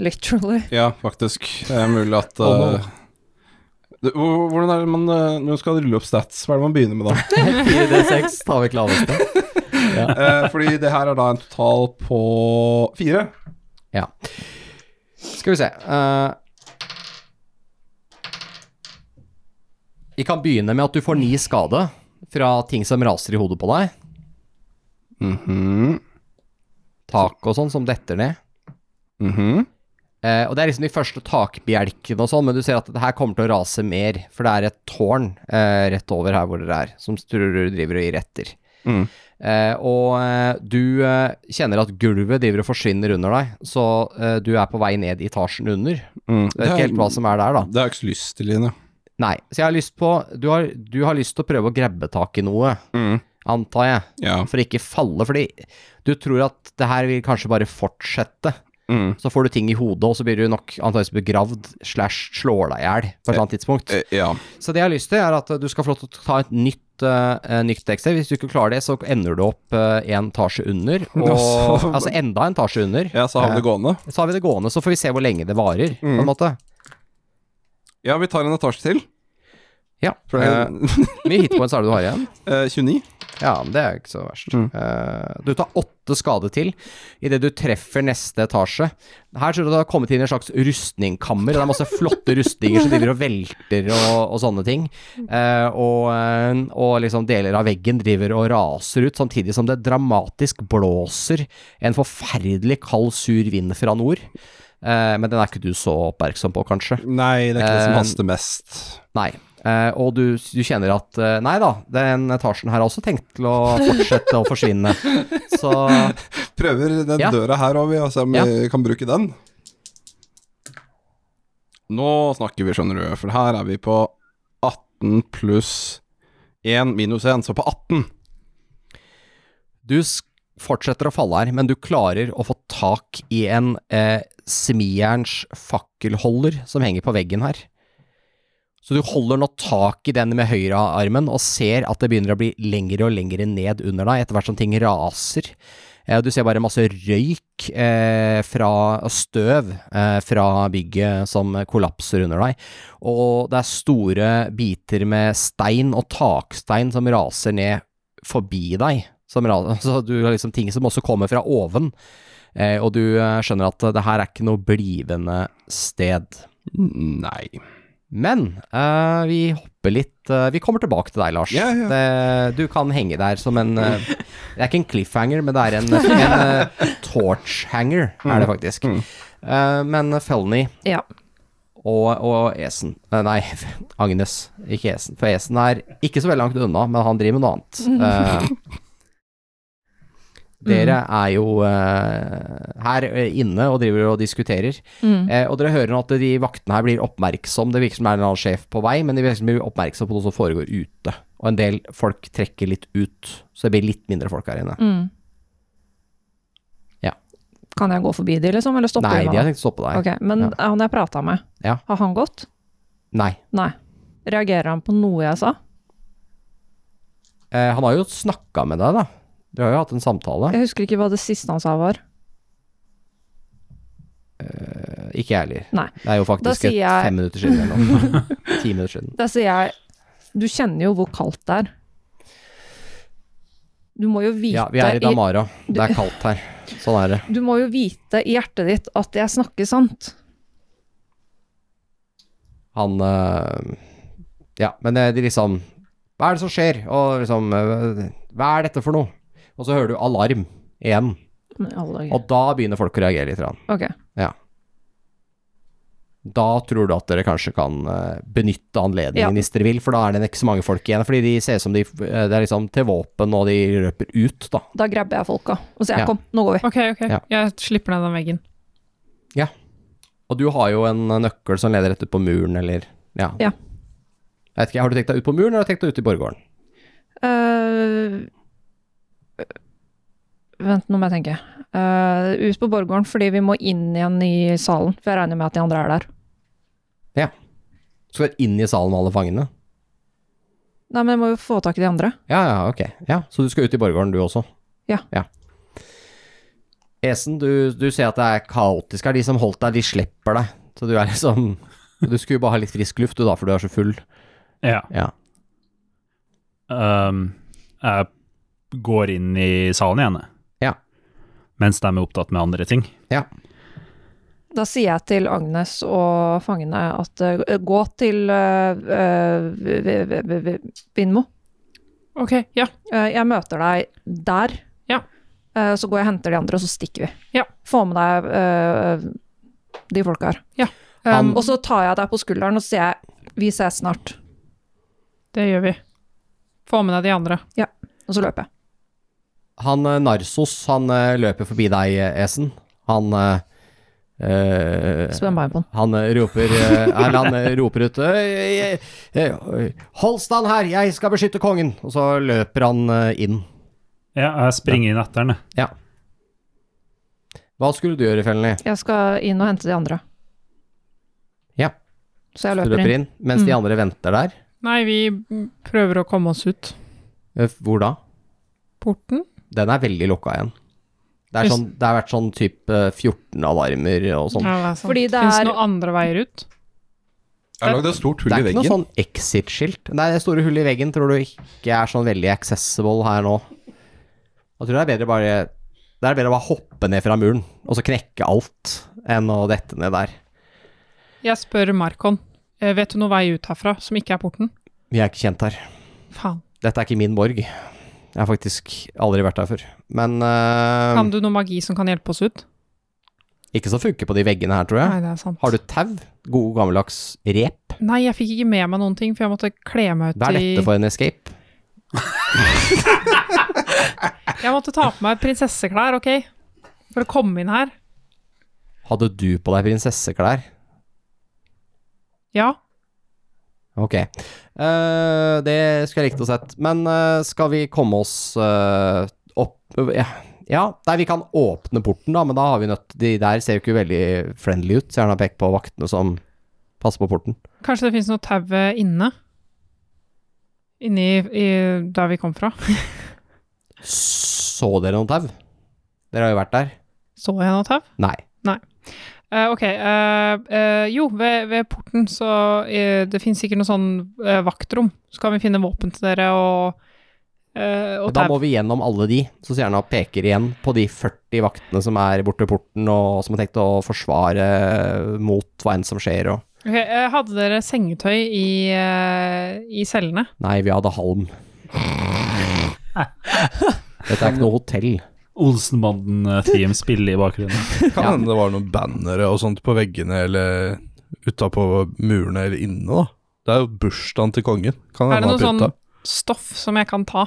S3: Literally.
S6: Ja, faktisk. Det er mulig at uh,
S2: Oh, no.
S6: det, hvor- Hvordan er det man uh, Når man skal rulle opp stats, hva er det man begynner med da?
S2: 4D6 tar vekk laveste.
S6: Eh, fordi det her er da en total på fire.
S2: Ja. Skal vi se eh, Vi kan begynne med at du får ni skade fra ting som raser i hodet på deg.
S6: Mhm.
S2: Tak og sånn som detter ned. Eh, og Det er liksom de første takbjelkene og sånn, men du ser at det her kommer til å rase mer. For det er et tårn eh, rett over her hvor dere er, som Strurud driver og gir etter. Eh, og eh, du eh, kjenner at gulvet driver og forsvinner under deg, så eh, du er på vei ned i etasjen under.
S6: Mm,
S2: Jeg vet ikke helt hva som er der, da.
S6: Det har jeg ikke så lyst til, Line.
S2: Nei, så jeg har lyst på Du har, du har lyst til å prøve å grabbe tak i noe, antar jeg,
S6: Mm. Ja.
S2: for ikke falle, fordi du tror at det her vil kanskje bare fortsette.
S6: Mm.
S2: Så får du ting i hodet, og så blir du nok antakeligvis begravd slash slår deg i hjel på et eller annet tidspunkt.
S6: Eh, ja.
S2: Så det jeg har lyst til, er at du skal få lov til å ta et nytt uh, nytt dekksel. Hvis du ikke klarer det, så ender du opp eh, en etasje under. Og,
S6: Altså.
S2: altså enda en etasje under.
S6: ja, så har vi det gående.
S2: Så har vi det gående, så får vi se hvor lenge det varer,
S6: Mm.
S2: på en måte.
S6: Ja, vi tar en etasje til.
S2: Ja.
S6: For det
S2: eh,
S6: er,
S2: mye hitpoints er det du har igjen?
S6: eh, 29.
S2: Ja, men det er jo ikke så verst. Eh, du tar åtte skade til idet du treffer neste etasje. Her tror jeg du har kommet inn i en slags rustningkammer. Det er masse flotte rustninger som driver og velter og, og sånne ting. Eh, og, eh, og liksom deler av veggen driver og raser ut, samtidig som det dramatisk blåser en forferdelig kald, sur vind fra nord. Eh, men den er ikke du så oppmerksom på, kanskje.
S6: Nei, det er ikke det som
S2: Eh,
S6: haster mest.
S2: Nei. Eh, og du, du kjenner at eh, Nei da, den etasjen her har også tenkt til å fortsette å forsvinne. Så
S6: Prøver den
S2: Ja.
S6: døra her òg, og se om
S2: Ja.
S6: vi kan bruke den. Nå snakker vi, skjønner du, for her er vi på 18 pluss 1 minus 1, så på 18.
S2: du s- fortsetter å falle her, men du klarer å få tak i en eh, smijerns fakkelholder som henger på veggen her. Så du holder nå tak i den med høyrearmen og ser at det begynner å bli lengre og lengre ned under deg etter hvert som ting raser. Eh, Du ser bare masse røyk eh, fra og støv eh, fra bygget som kollapser under deg. Og det er store biter med stein og takstein som raser ned forbi deg. Som ra- så du har liksom ting som også kommer fra oven. Eh, og du eh, skjønner at det her er ikke noe blivende sted.
S6: Nei.
S2: Men eh, vi hopper litt eh, Vi kommer tilbake til deg, Lars.
S6: Ja, ja.
S2: Det, du kan henge der som en eh, Det er ikke en cliffhanger, men det er en, en eh, torchhanger, er det
S6: Mm.
S2: faktisk. Eh, men Felny
S3: Ja.
S2: og, og Esen eh, Nei, Agnes, ikke Esen. For Esen er ikke så veldig langt unna, men han driver med noe annet. Eh,
S3: Mm.
S2: dere er jo eh, her inne og driver og diskuterer.
S3: Mm.
S2: Eh, og dere hører nå at de vaktene her blir oppmerksom. Det virker som det er en eller annen sjef på vei, men de virker som de blir oppmerksom på noe som foregår ute. Og en del folk trekker litt ut, så det blir litt mindre folk her inne.
S3: Mm.
S2: Ja.
S3: Kan jeg gå forbi de, liksom? Eller stopper
S2: Nei,
S3: de
S2: de har
S3: meg?
S2: tenkt å stoppe deg.
S3: Ok, men
S2: Ja.
S3: han jeg prata med,
S2: Ja.
S3: har han gått?
S2: Nei.
S3: Nei. Reagerer han på noe jeg sa?
S2: Eh, han har jo snakka med deg, da. Dere har jo hatt en samtale.
S3: Jeg husker ikke hva det siste han sa var.
S2: Ikke jeg heller.
S3: Nei.
S2: Det er jo faktisk
S3: sier
S2: et
S3: jeg-
S2: fem minutter siden eller noe. Ti minutter siden.
S3: Da sier jeg Du kjenner jo hvor kaldt det er. Du må jo vite
S2: Ja, vi er i
S3: i-
S2: Damara. Det er kaldt her. Sånn er det.
S3: Du må jo vite i hjertet ditt at jeg snakker sant.
S2: Han eh, Ja, men det, de liksom Hva er det som skjer? Og liksom eh, Hva er dette for noe? Og så hører du alarm igjen.
S3: Men i alle dager.
S2: Og da begynner folk å reagere litt. grann.
S3: Ok.
S2: Da tror du at dere kanskje kan eh, benytte anledningen
S3: Ja.
S2: hvis dere vil, for da er det ikke så mange folk igjen. Fordi de ser ut som de eh, Det er liksom til våpen, og de løper ut, da.
S3: Da grabber jeg folka og sier
S2: Ja.
S3: kom, nå går vi.
S4: Ok, ok.
S2: Ja.
S4: Jeg slipper ned den veggen.
S2: Og du har jo en nøkkel som leder rett ut på muren, eller Ja.
S3: Ja.
S2: Jeg vet ikke, Har du tenkt deg ut på muren, eller har du tenkt deg ut i borggården?
S3: Eh, vent, nå må jeg tenke. Eh, ut på borggården fordi vi må inn igjen i salen. For jeg regner med at de andre er der.
S2: Skal du inn i salen med alle fangene?
S3: Nei, men jeg må jo få tak i de andre.
S2: Ja, ja, ok. Ja, så du skal ut i borggården du også?
S3: Ja.
S2: Esen, du, du ser at det er kaotisk her. De som holdt deg, de slipper deg. Så du er liksom Du skulle jo bare ha litt frisk luft, du da, for du er så full.
S7: Ja.
S2: Ja.
S7: Ehm, jeg går inn i salen igjen, jeg.
S2: Ja.
S7: Mens de er opptatt med andre ting.
S3: Da sier jeg til Agnes og fangene at eh, gå til eh, eh, v- v- v- v- v- Vindmo.
S4: Ok, ja.
S3: Eh, jeg møter deg der.
S4: Ja.
S3: Eh, så går jeg og henter de andre, og så stikker vi.
S4: Ja.
S3: Få med deg eh, de folka her.
S4: Um,
S3: Og så tar jeg deg på skulderen og sier jeg, vi ses snart.
S4: det gjør vi. Få med deg de andre.
S3: Og så løper jeg.
S2: Han eh, Narsos, han eh, løper forbi deg, eh, Esen. Han eh, eh,
S3: Spenn bein på den.
S2: Han eh, roper, eh, eller han eh, roper ut «Øy, øy, øy, øy, Hold stand her, jeg skal beskytte kongen! Og så løper han eh, inn.
S7: Ja, jeg springer inn etter den. jeg.
S2: Hva skulle du gjøre, Felny?
S3: Jeg skal inn og hente de andre.
S2: Ja.
S3: Så jeg
S2: Du
S3: løper,
S2: løper
S3: inn.
S2: inn, mens de andre venter der.
S4: Nei, vi mm, prøver å komme oss ut.
S2: Eh, Hvor da?
S4: Porten?
S2: Den er veldig lukka igjen. Det, er
S4: Hvis-
S2: sånn, det har vært sånn type 14 alarmer og sånn.
S4: Ja, det er sant.
S3: Fordi det
S4: Finnes
S3: er-
S4: det noen andre veier ut?
S6: Jeg har lagd et stort
S2: Det
S6: hull
S2: er
S6: i
S2: ikke
S6: veggen.
S2: noe sånn exit-skilt. Nei, det store hullet i veggen tror du ikke er sånn veldig accessible her nå. Jeg tror det er bedre bare det er bedre å bare hoppe ned fra muren og så knekke alt, enn å dette ned der.
S4: Jeg spør Markon. eh, Vet du noen vei ut herfra som ikke er porten?
S2: Vi er ikke kjent her.
S4: Faen.
S2: Dette er ikke min borg. Jeg har faktisk aldri vært her før. Men eh,
S4: Kan du noe magi som kan hjelpe oss ut?
S2: ikke som funker på de veggene her, tror jeg.
S4: Nei, det er sant.
S2: Har du tau? God gammeldags rep?
S4: Nei, jeg fikk ikke med meg noen ting, for jeg måtte kle meg ut
S2: Hva er
S4: i
S2: dette for en escape?
S4: Jeg måtte ta på meg prinsesseklær, OK? For å komme inn her.
S2: Hadde du på deg prinsesseklær?
S4: Ja.
S2: Ok. Eh, det skulle jeg likt å sett. Men eh, skal vi komme oss eh, opp ja. ja, nei, vi kan åpne porten, da, men da har vi nødt De der ser jo ikke veldig friendly ut, så jeg har pekt på vaktene som passer på porten.
S4: Kanskje det finnes noe tau eh, inne? Inni i, der vi kom fra.
S2: Så dere noe tau? Dere har jo vært der?
S4: Så jeg noe tau?
S2: Nei.
S4: Eh, ok. eh, eh, jo, ved, ved porten så eh, Det finnes sikkert noe sånn eh, vaktrom. Så kan vi finne våpen til dere og, eh, og
S2: Da
S4: tau.
S2: må vi gjennom alle de, så sier han og peker igjen på de 40 vaktene som er borte ved porten, og som har tenkt å forsvare eh, mot hva enn som skjer, og
S4: Ok, eh, hadde dere sengetøy i, eh, i cellene?
S2: Nei, vi hadde halm. Dette er ikke noe hotell.
S7: Olsenbanden-team eh, spiller i bakgrunnen.
S6: Kan
S2: Ja.
S6: hende det var noen bannere og sånt på veggene eller utapå murene eller inne, da. Det er jo bursdagen til kongen. Kan
S4: Er
S6: hende
S4: det noe
S6: han
S4: sånn
S6: har pynta.
S4: stoff som jeg kan ta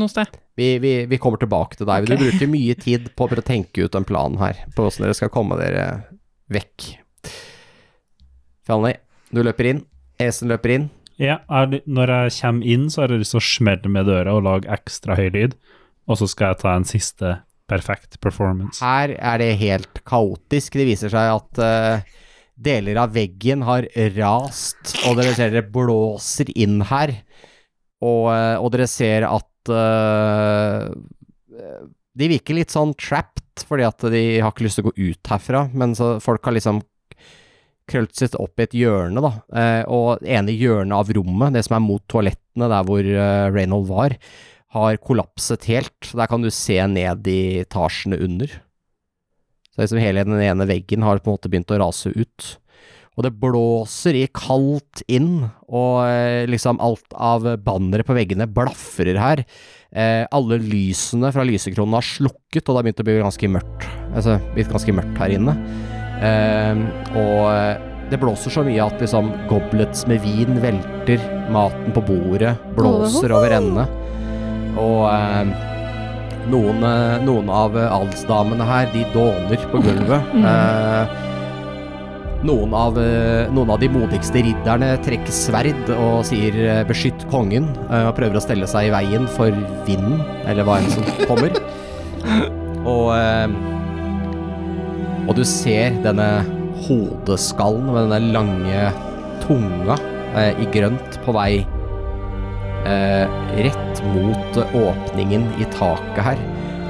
S4: noe sted?
S2: Vi, vi, vi kommer tilbake til deg.
S4: Ok.
S2: Du bruker mye tid på å prøve å tenke ut en plan her, på åssen dere skal komme dere vekk. Fjalny, du løper inn. Esen løper inn.
S7: Ja, jeg, når jeg kommer inn, så har jeg lyst til å smelle med døra og lage ekstra høy lyd. Og så skal jeg ta en siste perfekt performance.
S2: Her er det helt kaotisk. Det viser seg at eh, deler av veggen har rast, og dere ser dere blåser inn her. Og, eh, og dere ser at at eh, De virker litt sånn trapped, fordi at de har ikke lyst til å gå ut herfra. Men så folk har liksom krølt sitt opp i et hjørne, da. Eh, og det ene hjørnet av rommet, det som er mot toalettene der hvor eh, Reynold var, har kollapset helt. Der kan du se ned i etasjene under. Så liksom hele den ene veggen har på en måte begynt å rase ut. Og det blåser i kaldt inn, og eh, liksom alt av bannere på veggene blafrer her. Eh, alle lysene fra lysekronene har slukket, og det har begynt å bli ganske mørkt. Altså, blitt ganske mørkt her inne. Eh, og eh, det blåser så mye at liksom goblets med vin velter, maten på bordet blåser over ende. Og eh, noen, eh, noen av eh, adelsdamene her, de dåner på gulvet. Eh, noen, av, eh, noen av de modigste ridderne trekker sverd og sier eh, 'beskytt kongen', eh, og prøver å stelle seg i veien for vinden, eller hva enn som kommer. Og, eh, og du ser denne hodeskallen med denne lange tunga eh, i grønt på vei eh, rett mot eh, åpningen i taket her.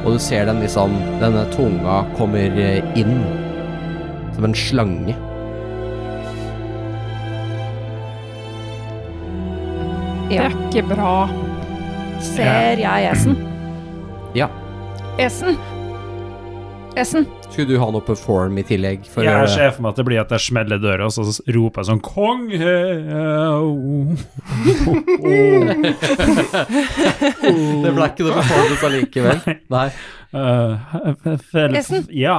S2: Og du ser den liksom Denne tunga kommer eh, inn som en slange.
S4: Det er ikke bra.
S3: Ser jeg Esen?
S2: Ja.
S3: Esen? Esen?
S2: Skulle du ha noe perform i tillegg? For å
S7: Jeg
S2: gjøre det?
S7: ser for meg at det blir at jeg smeller døra, og så roper jeg sånn Kong!
S2: det ble ikke noe performance allikevel. Nei.
S3: Esen?
S7: Eh, Ja.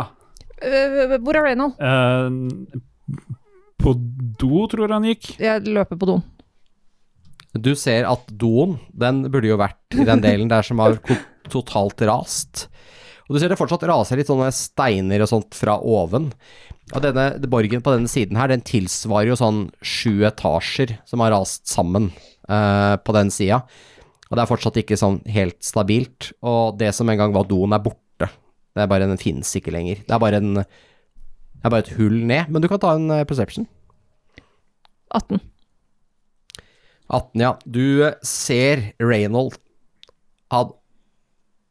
S3: Øh, hvor er Reynold?
S7: eh, på do, tror jeg han gikk.
S3: Jeg løper på doen.
S2: Du ser at doen, den burde jo vært i den delen der som har ko- totalt rast. Og du ser det fortsatt raser litt sånne steiner og sånt fra oven. Og denne borgen på denne siden her, den tilsvarer jo sånn sju etasjer som har rast sammen eh, på den sida. Og det er fortsatt ikke sånn helt stabilt. Og det som en gang var doen, er borte. Det er bare Den finnes ikke lenger. Det er bare en det er bare et hull ned, men du kan ta en eh, perception.
S3: 18.
S2: 18, ja. Du eh, ser Reynold. Han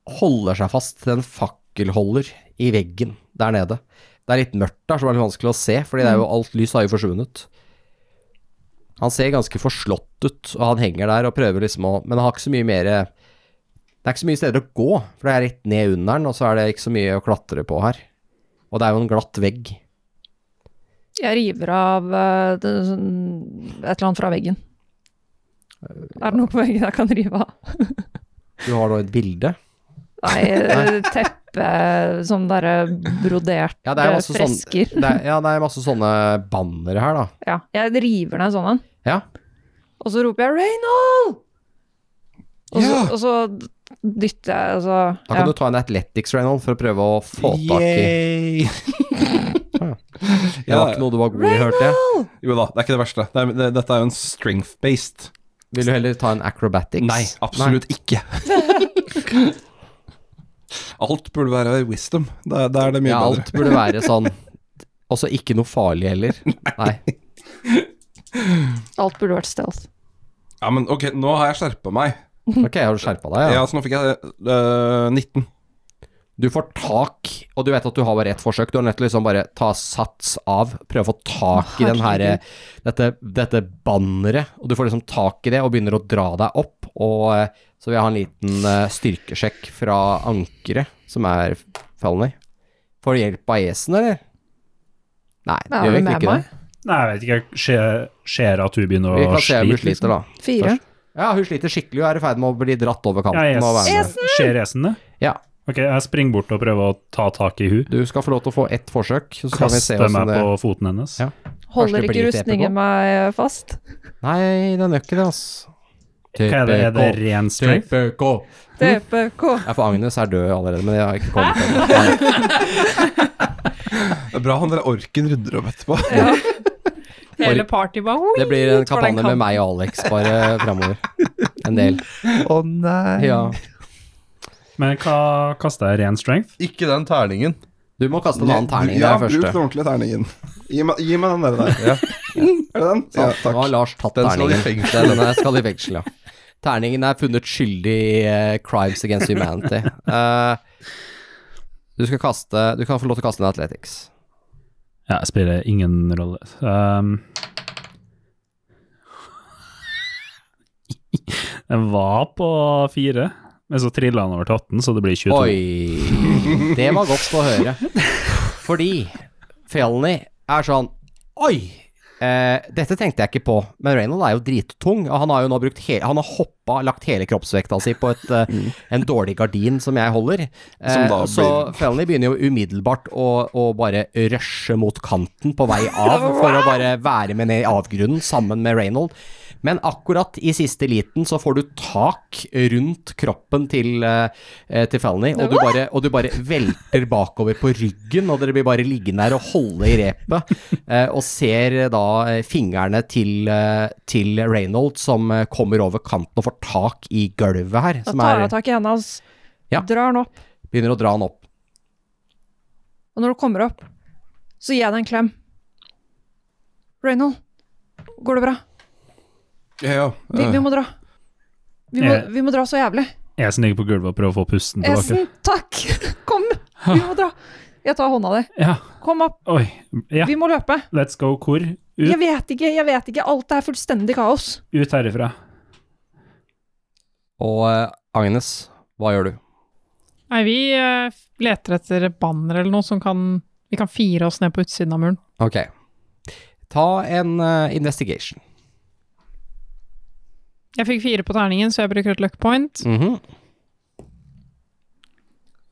S2: holder seg fast til en fakkelholder i veggen der nede. Det er litt mørkt der, så det er litt vanskelig å se, fordi det er jo alt lys har jo forsvunnet. Han ser ganske forslått ut, og han henger der og prøver liksom å Men han har ikke så mye mer eh, Det er ikke så mye steder å gå, for det er litt ned under den, og så er det ikke så mye å klatre på her. Og det er jo en glatt vegg.
S3: Jeg river av øh, det, sånn- et eller annet fra veggen.
S2: Eh,
S3: Er det noe på veggen jeg kan rive av?
S2: Du har da et bilde.
S3: Nei, øh, teppe, sånn derre broderte
S2: Ja, det er sånn- masse sånne,
S3: fresker.
S2: det er, ja, det er masse sånne bannere her, da.
S3: Ja, jeg river ned sånn en.
S2: Ja.
S3: Og så roper jeg 'Reynold!' Og, så- og så dytter jeg, og så
S2: Da kan
S3: ja.
S2: du ta en Athletics Reynold for å prøve å få tak i Det var ikke noe du var god i, hørte jeg.
S6: Jo da, det er ikke det verste. Det er, det, dette er jo en strength-based.
S2: Vil du heller ta en Acrobatics?
S6: absolutt ikke. Alt burde være wisdom. Da da er det
S2: Nei.
S6: mye
S2: Ja,
S6: bedre.
S2: alt burde være sånn Også ikke noe farlig heller. Nei.
S3: Alt burde vært stealth.
S6: Ja, men ok, nå har jeg skjerpa meg.
S2: Ok, har du skjerpa deg? Ja.
S6: Ja, så nå fikk jeg øh, 19.
S2: Du får tak, og du vet at du har bare ett forsøk. Du er nødt til å liksom bare ta sats av, prøve å få tak i den her, dette, dette banneret. Og du får liksom tak i det og begynner å dra deg opp. Og eh, så vil jeg ha en liten eh, styrkesjekk fra ankeret, som er Felny. Får du hjelp av Esen, eller? Nei, det
S3: Er
S2: gjør
S3: du
S2: egentlig
S3: med
S2: ikke det.
S7: Nei, jeg vet ikke. Skjer, skjer at hun begynner
S2: Vi
S7: å
S2: kan se om hun
S7: slite?
S2: sliter, da.
S3: Fire.
S2: Ja, hun sliter skikkelig. Hun er i ferd med å bli dratt over kanten.
S7: Ja, jeg,
S2: og være med.
S7: skjer Esen det?
S2: Ja.
S7: Ok, jeg springer bort og prøver å ta tak i hun.
S2: Du skal få lov til å få ett forsøk, så skal vi se
S7: Kaster
S2: hvordan
S7: meg
S2: det
S7: på foten hennes.
S2: Ja. Kanskje
S3: Holder
S2: det
S3: ikke
S2: blir
S3: rustningen
S2: TPK?
S3: meg fast?
S2: Nei, den gjør ikke det, altså.
S7: Hva er det, er det ren strength?
S2: TPK.
S3: TPK.
S2: Ja, for Agnes er død allerede, men jeg har ikke kommet til det. Nei.
S6: Det er bra han der orken rydder opp etterpå.
S4: Hele party bare oi,
S2: Det blir en
S4: for den
S2: kampanje med
S4: kan-
S2: meg og Alex bare framover. En del.
S8: Å nei.
S2: Ja.
S7: Men hva kaster jeg ren strength?
S8: Ikke den terningen.
S2: Du må kaste en annen terning, det
S6: ja,
S2: er
S6: bruk den
S2: første.
S6: ordentlige terningen. Gi meg, gi meg den der. der. Er det den?
S2: Nå
S6: Ja,
S2: har
S6: takk.
S2: Lars tatt
S8: Den skal i
S2: terningen.
S8: fengsel.
S2: Den er- skal i fengsel, ja. Terningen er funnet skyldig i eh, crimes against humanity. Eh, du skal kaste Du kan få lov til å kaste en athletics.
S7: Ja, jeg spiller ingen rolle. Ehm. Den var på fire, men så trilla han over til 18, så det blir 22.
S2: Oi. Det var godt å høre. Fordi Fjalni er sånn Oi! Eh, dette tenkte jeg ikke på, men Reynold er jo drittung. Og han har jo nå brukt he Han har hoppa, lagt hele kroppsvekta si på et, eh, en dårlig gardin som jeg holder. Eh,
S6: Som da
S2: så
S6: blir-
S2: Fjalni begynner jo umiddelbart å, å bare rushe mot kanten på vei av, for å bare være med ned i avgrunnen sammen med Reynold. Men akkurat i siste liten så får du tak rundt kroppen til, eh, eh, til Felny, og, du bare- og du bare velter bakover på ryggen, og dere blir bare liggende her og holde i repet, eh, og ser eh, da eh, fingrene til, eh, til Reynold som eh, kommer over kanten og får tak i gulvet her,
S3: Da
S2: som
S3: tar jeg
S2: er,
S3: tak i henda hans,
S2: Ja.
S3: drar den opp,
S2: begynner å dra han opp.
S3: og når du kommer opp, så gir jeg deg en klem. Reynold, går det bra?
S6: Ja, ja.
S3: Vi, vi må dra. Vi må,
S7: Ja.
S3: vi må dra så jævlig.
S7: Jeg som ligger på gulvet og prøver å få pusten Eh. tilbake.
S3: Esen, takk! Kom, vi må dra. Jeg tar hånda di.
S7: Ja,
S3: Kom opp,
S7: oi. Ja,
S3: vi må løpe.
S7: let's go, hvor? Ut,
S3: Jeg vet ikke, jeg vet ikke. Alt er fullstendig kaos.
S7: ut herifra.
S2: Og eh, Agnes, hva gjør du?
S4: Nei, vi eh, leter etter et banner eller noe som kan Vi kan fire oss ned på utsiden av muren.
S2: Ok. Ta en eh, investigation.
S4: Jeg fikk fire på terningen, så jeg bruker et luck point.
S2: Mhm.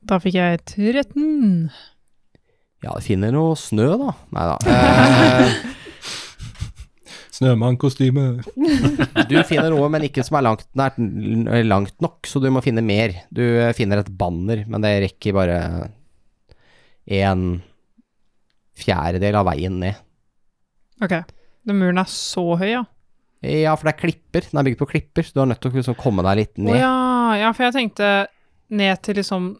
S4: Da fikk jeg 13.
S2: Ja, det finner noe snø da. Neida. Eh,
S6: Snømannkostyme.
S2: Du finner noe, men ikke som er langt, nært, langt nok, så du må finne mer. Du eh, finner et banner, men det rekker bare en fjerdedel av veien ned.
S4: Ok. Den muren er så høy, ja.
S2: Ja, for det er klipper. Den er bygd på klipper, så du er nødt til å liksom komme deg litt
S4: Å
S2: ned.
S4: ja. ja, for jeg tenkte ned til liksom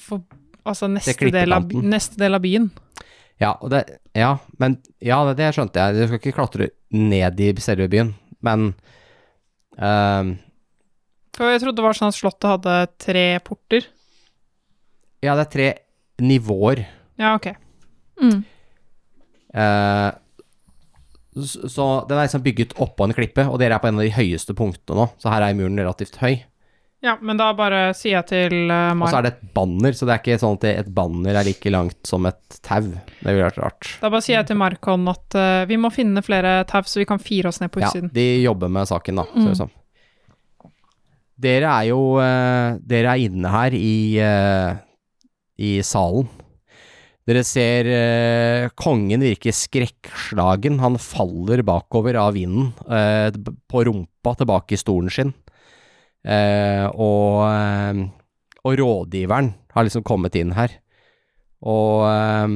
S4: for, Altså neste
S2: klipper
S4: del, av,
S2: kanten.
S4: neste del av byen.
S2: Ja, og det, ja, men, ja det, det skjønte jeg. Du skal ikke klatre ned i selve byen, men ehm,
S4: For jeg trodde det var sånn at slottet hadde tre porter.
S2: Ja, det er tre nivåer.
S4: Ja, ok.
S2: Eh, s- så den er liksom bygget oppå en klippe, og dere er på en av de høyeste punktene nå, så her er muren relativt høy.
S4: Ja, men da bare sier jeg til uh,
S2: Og så
S4: Maren
S2: er det et banner, så det er ikke sånn at det- et banner er like langt som et tau. Det ville vært rart.
S4: Da bare sier jeg til Markon at eh, vi må finne flere tau, så vi kan fire oss ned på
S2: Ja,
S4: utsiden.
S2: de jobber med saken, da, ser det ut som. Dere er jo eh, Dere er inne her i, eh, i salen. Dere ser eh, kongen virke skrekkslagen. Han faller bakover av vinden, eh, b- på rumpa tilbake i stolen sin. Eh, og, eh, og rådgiveren har liksom kommet inn her. Og eh,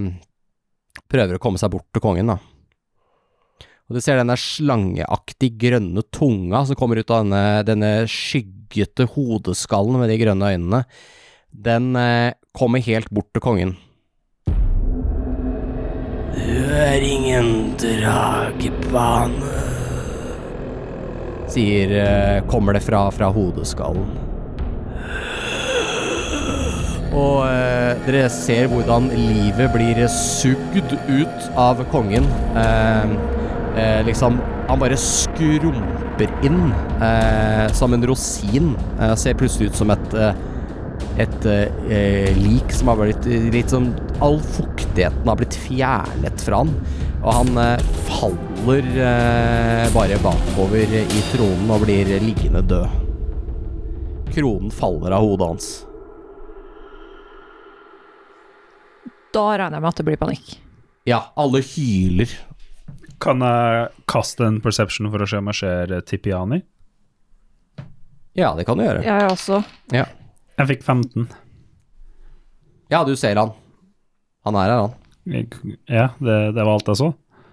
S2: prøver å komme seg bort til kongen, da. Og du ser denne slangeaktig grønne tunga som kommer ut av denne, denne skyggete hodeskallen med de grønne øynene. Den eh, kommer helt bort til kongen. Du er ingen dragebane, sier eh, Kommer det fra, fra hodeskallen. Og eh, dere ser hvordan livet blir sugd ut av kongen. Eh, eh, liksom Han bare skrumper inn eh, som en rosin. Eh, ser plutselig ut som et eh, et eh, eh, lik som har blitt eh, litt sånn All fuktigheten har blitt fjernet fra han, og han eh, faller eh, bare bakover i tronen og blir liggende død. Kronen faller av hodet hans.
S3: Da regner jeg med at det blir panikk.
S2: Ja, alle hyler.
S7: Kan jeg kaste en perception for å se om jeg ser eh, Tipiani?
S2: Ja, det kan du gjøre.
S3: Jeg også.
S2: Ja.
S7: Jeg fikk 15.
S2: Ja, du ser han. Han er her, han.
S7: Jeg- Ja, det, det var alt jeg så.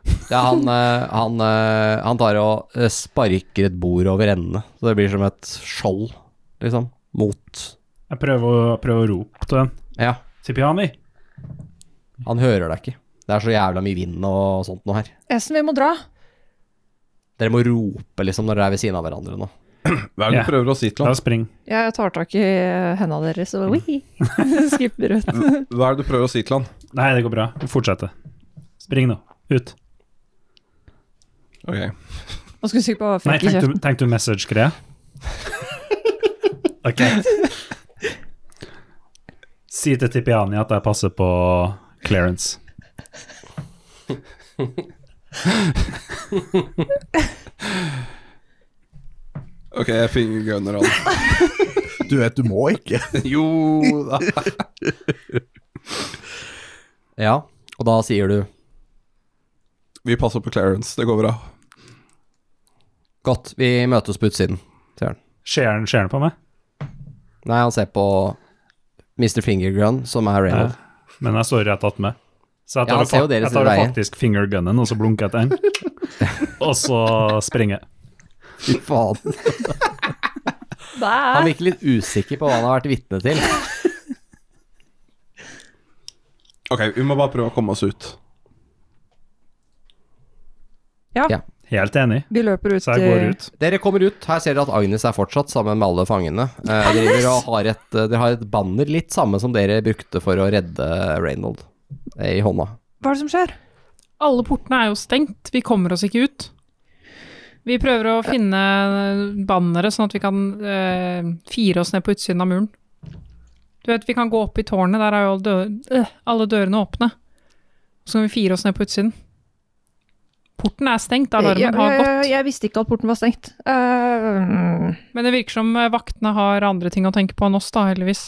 S2: Det er han, eh, han, eh, han tar og eh, sparker et bord over endene, så det blir som et skjold, liksom, mot
S7: Jeg prøver å, prøver å rope til den.
S2: Ja,
S7: Tipiani!
S2: han hører deg ikke. Det er så jævla mye vind og sånt noe her.
S3: Esen, vi må dra.
S2: Dere må rope liksom når dere er ved siden av hverandre nå.
S6: Hva er det
S7: Ja.
S6: du prøver å si til
S7: Da
S6: han?
S7: spring.
S3: Jeg tar tak i henda deres og oi, skipper ut.
S7: Mm.
S6: Hva er det du prøver å si til han?
S7: Nei, det går bra. Fortsette. Spring nå. Ut.
S6: Ok.
S3: Og skulle sykt på
S7: Nei,
S3: flekken i
S7: tenkte
S3: kjeften.
S7: du, tenkte du message-greia? ok. Si til Tipiani at jeg passer på clearance.
S6: Ok, jeg fingergunner han.
S8: Du vet, du må ikke.
S6: Jo da.
S2: Ja, og da sier du
S6: Vi passer på clearance, det går bra.
S2: Godt, vi møtes på utsiden. Sier han.
S7: Ser han ser han på meg?
S2: Nei, han ser på Mr. Fingergun, som er Reynold.
S7: Men jeg står rett attmed. Så jeg
S2: Ja,
S7: tar,
S2: han ser jo
S7: jo,
S2: dere
S7: jeg
S2: som
S7: tar jo
S2: veier.
S7: faktisk fingergunnen, og så blunker jeg til den. og så springer jeg.
S2: Fy faen. Han
S3: Bæ!
S2: virker litt usikker på hva han har vært vitne til.
S6: Ok, vi må bare prøve å komme oss ut.
S3: Ja,
S2: Ja.
S7: Helt enig.
S3: vi løper ut eh,
S7: Så jeg går
S3: i-
S7: ut.
S2: Dere kommer ut. Her ser dere at Agnes er fortsatt sammen med alle fangene. Eh, dere, driver og har et, eh, dere har et banner litt samme som dere brukte for å redde Reynold eh, i hånda.
S3: Hva er det som skjer?
S4: Alle portene er jo stengt, vi kommer oss ikke ut. Vi prøver å finne bannere, sånn at vi kan eh, fire oss ned på utsiden av muren. Du vet, vi kan gå opp i tårnet, der er jo alle, dø øh, alle dørene åpne. Så kan vi fire oss ned på utsiden. Porten er stengt,
S3: jeg,
S4: alarmen har
S3: jeg,
S4: gått.
S3: jeg visste ikke at porten var stengt. Eh,
S4: Men det virker som eh, vaktene har andre ting å tenke på enn oss, da, heldigvis.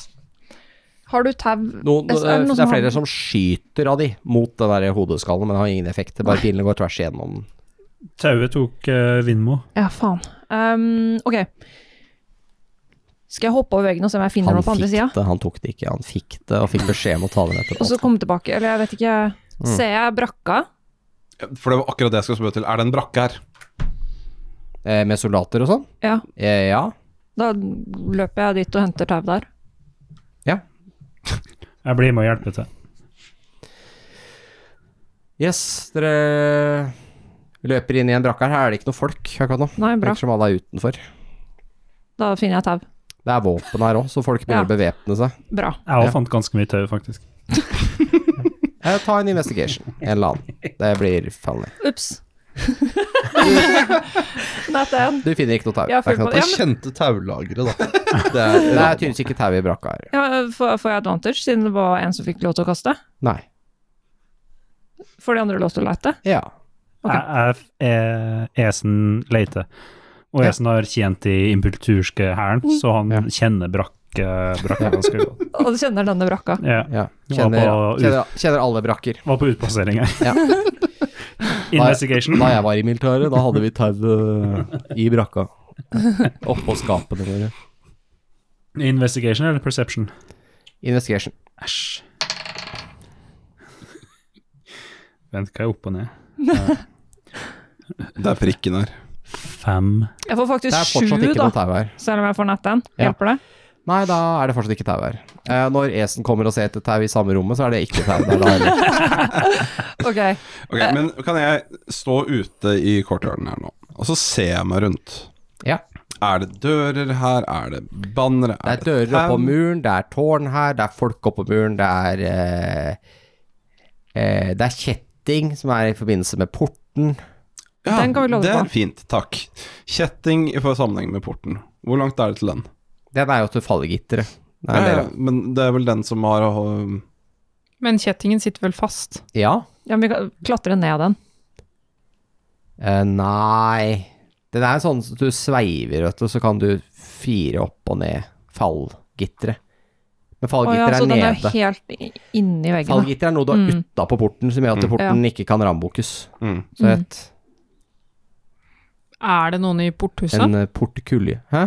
S3: har du tau
S2: Noen,
S3: Er
S2: eh,
S3: det noen
S2: det
S3: som
S2: er
S3: har-
S2: flere som skyter av de mot den der hodeskallen, men det har ingen effekt. Det Bare pilene går tvers igjennom den.
S7: Tauet tok eh, Vindmo.
S3: Ja, faen. Ehm, ok. Skal jeg hoppe over veggen og se om jeg finner
S2: Han
S3: noe på andre
S2: fikk
S3: sida?
S2: det, han tok det ikke. Han fikk det og fikk beskjed om å ta det med
S3: Og så
S2: etterpå.
S3: komme tilbake? Eller jeg vet ikke.
S2: Mm.
S3: Ser jeg brakka?
S6: For det var akkurat det jeg skal spørre til. Er det en brakke her?
S2: Eh, med soldater og sånn?
S3: Ja.
S2: Eh, ja.
S3: Da løper jeg dit og henter tau der.
S7: Jeg blir med og hjelper til.
S2: Yes, dere løper inn i en brakke her. Her er det ikke noe folk akkurat nå.
S3: Nei, bra.
S2: Virker som alle er utenfor.
S3: Da finner jeg tau.
S2: Det er våpen her òg, så folk begynner å bevæpne seg.
S3: Bra.
S7: Jeg òg
S2: Ja.
S7: fant ganske mye tau, faktisk.
S2: Eh, ta en investigation. En eller annen. Det blir farlig.
S3: Ups. Natt én.
S2: Du finner ikke noe tau.
S3: Ja,
S2: Det er ikke noe
S3: full på-
S2: tau.
S8: Jeg kjente taulageret, da. Det er,
S2: Det er tydeligvis ikke tau i brakka her.
S3: Ja, får, får jeg advantage, siden det var en som fikk lov til å kaste?
S2: Nei.
S3: Får de andre lov til å lete?
S2: Ja.
S7: Jeg, jeg, esen leter. Og
S2: Ja.
S7: Esen har tjent i impulturske hæren, så han
S2: Ja.
S7: kjenner brakke, brakke ganske godt.
S3: Og du kjenner denne brakka.
S7: Ja.
S2: ja.
S7: Nå var
S2: Kjenner,
S7: på-
S2: kjenner, kjenner alle brakker.
S7: Var på utplassering her.
S2: Ja.
S7: Investigation.
S2: Da jeg var i militæret, da hadde vi tau eh, i brakka. Oppå skapene våre.
S7: Investigation eller perception?
S2: Investigation.
S7: Æsj. Vent, hva er opp og ned?
S6: Det er prikken her.
S7: Fem.
S3: Jeg
S2: Det
S3: får
S2: er
S3: faktisk
S2: fortsatt
S3: sju,
S2: ikke
S3: da,
S2: noe tau her.
S3: selv om jeg får natt én.
S2: Ja.
S3: Hjelper det?
S2: Nei, da er det fortsatt ikke tau her. Eh, når Esen kommer og ser etter tau i samme rommet, så er det ikke tau der da heller.
S3: Ok.
S6: Ok, Men kan jeg stå ute i courtyarden her nå, og så ser jeg meg rundt?
S2: Ja.
S6: Er det dører her? Er det bannere?
S2: Det er dører oppå
S6: tau?
S2: muren, det er tårn her, det er folk oppå muren, det er eh, eh, Det er kjetting som er i forbindelse med porten.
S6: Ja,
S3: Den kan vi love
S6: det
S3: på.
S6: er fint, takk. Kjetting i for sammenheng med porten. Hvor langt er det til den?
S2: Den er jo til fallegitteret. Det er en
S6: Ja,
S2: del
S6: ja,
S2: av-
S6: men det er vel den som har øh,
S4: Men kjettingen sitter vel fast.
S2: Ja?
S3: Ja, men vi kan klatre ned den.
S2: Eh, nei Den er sånn at du sveiver, vet du, så kan du fire opp og ned fallgitteret. Men
S3: Å ja,
S2: fallgitteret
S3: så
S2: er
S3: den er
S2: nede.
S3: helt i- inni veggen. da.
S2: Fallgitter er noe du har
S3: Mm.
S2: utapå porten, som gjør at porten ikke kan rambukes.
S6: mm.
S2: Så
S3: Mm.
S2: et,
S4: Er det noen i porthuset?
S2: en eh, portkulje. Hæ?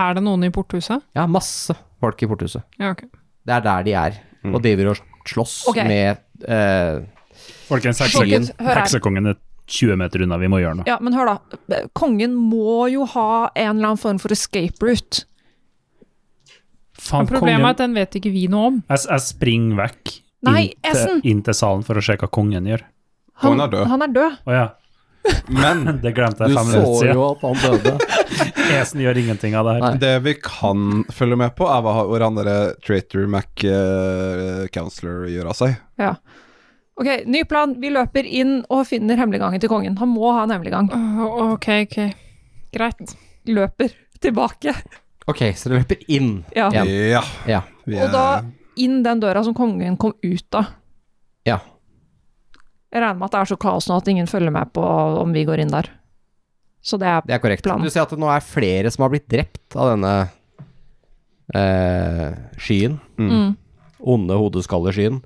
S4: Er det noen i porthuset?
S2: Ja, masse folk i porthuset.
S4: Ja, ok.
S2: Det er der de er, og driver og slåss
S3: Ok.
S2: med eh,
S7: Folkens, heksekongen,
S3: Folkens, hør her.
S7: heksekongen er 20 meter unna, vi må gjøre noe.
S3: Ja, men hør da. Kongen må jo ha en eller annen form for escape route.
S7: Faen,
S4: Men problemet er at den vet ikke vi noe om.
S7: Jeg, jeg springer vekk
S3: Nei,
S7: inn, til,
S3: Esen!
S7: inn til salen for å se hva kongen gjør.
S6: Kongen er død.
S3: Han er død.
S7: Å ja.
S6: Men
S7: Det glemte
S2: Du
S7: jeg fem
S2: så
S7: minutter siden.
S2: jo at han døde.
S7: Esen gjør ingenting av det her.
S2: Nei.
S6: det vi kan følge med på, er hva hvor han derre Traitor Mac eh, Counselor gjør av seg.
S3: Ja. Ok, ny plan. Vi løper inn og finner hemmeliggangen til kongen. Han må ha en hemmeliggang.
S4: Åh, ok, ok. Greit.
S3: Løper tilbake.
S2: Ok, så det løper inn.
S3: Ja.
S2: Ja.
S6: Ja.
S2: Ja.
S6: Vi
S3: Og da inn den døra som kongen kom ut av.
S2: Ja.
S3: Jeg regner med at det er så kaos nå at ingen følger med på om vi går inn der. Så det er
S2: Det er korrekt.
S3: Planen.
S2: Du ser at det nå er flere som har blitt drept av denne eh, skyen.
S3: Mm.
S2: Onde hodeskalleskyen.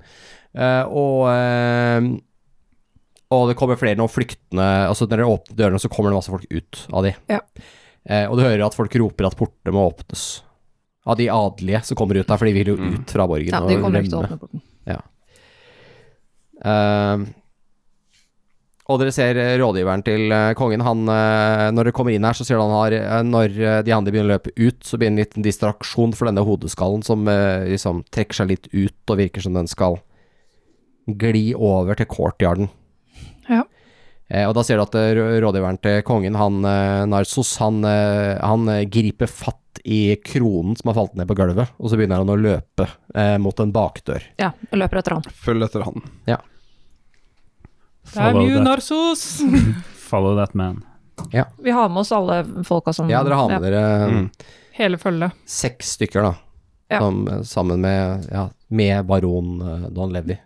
S2: Eh, og eh, og det kommer flere nå flyktende Altså når dere åpner dørene, så kommer det masse folk ut av de.
S3: Ja.
S2: Eh, og du hører at folk roper at portene må åpnes. Av de adelige som kommer ut der, for de vil jo ut fra borgen.
S3: Ja, de
S2: og
S3: kommer ikke til å
S2: rømme.
S3: åpne porten.
S2: Ehm, og dere ser eh, rådgiveren til eh, kongen. Han, eh, når dere kommer inn her, så ser du han har eh, Når eh, de andre begynner å løpe ut, så blir det en liten distraksjon for denne hodeskallen som eh, liksom trekker seg litt ut og virker som den skal gli over til courtyarden.
S4: Ja.
S2: Eh, og da ser du at eh, rå- rådgiveren til kongen, han eh, Narsos, han, eh, han eh, griper fatt i kronen som har falt ned på gulvet, og så begynner han å løpe eh, mot en bakdør.
S3: Ja, jeg løper etter han.
S6: følger etter han.
S4: Damn
S7: Follow
S4: you,
S7: that,
S4: Narsos!
S7: follow that man.
S3: Vi har med oss alle folka som
S2: Ja, dere har med dere
S6: Mm.
S4: Hele følget.
S2: seks stykker, da.
S3: Ja.
S2: Som, eh, sammen med, ja, med baron eh, Don Levi.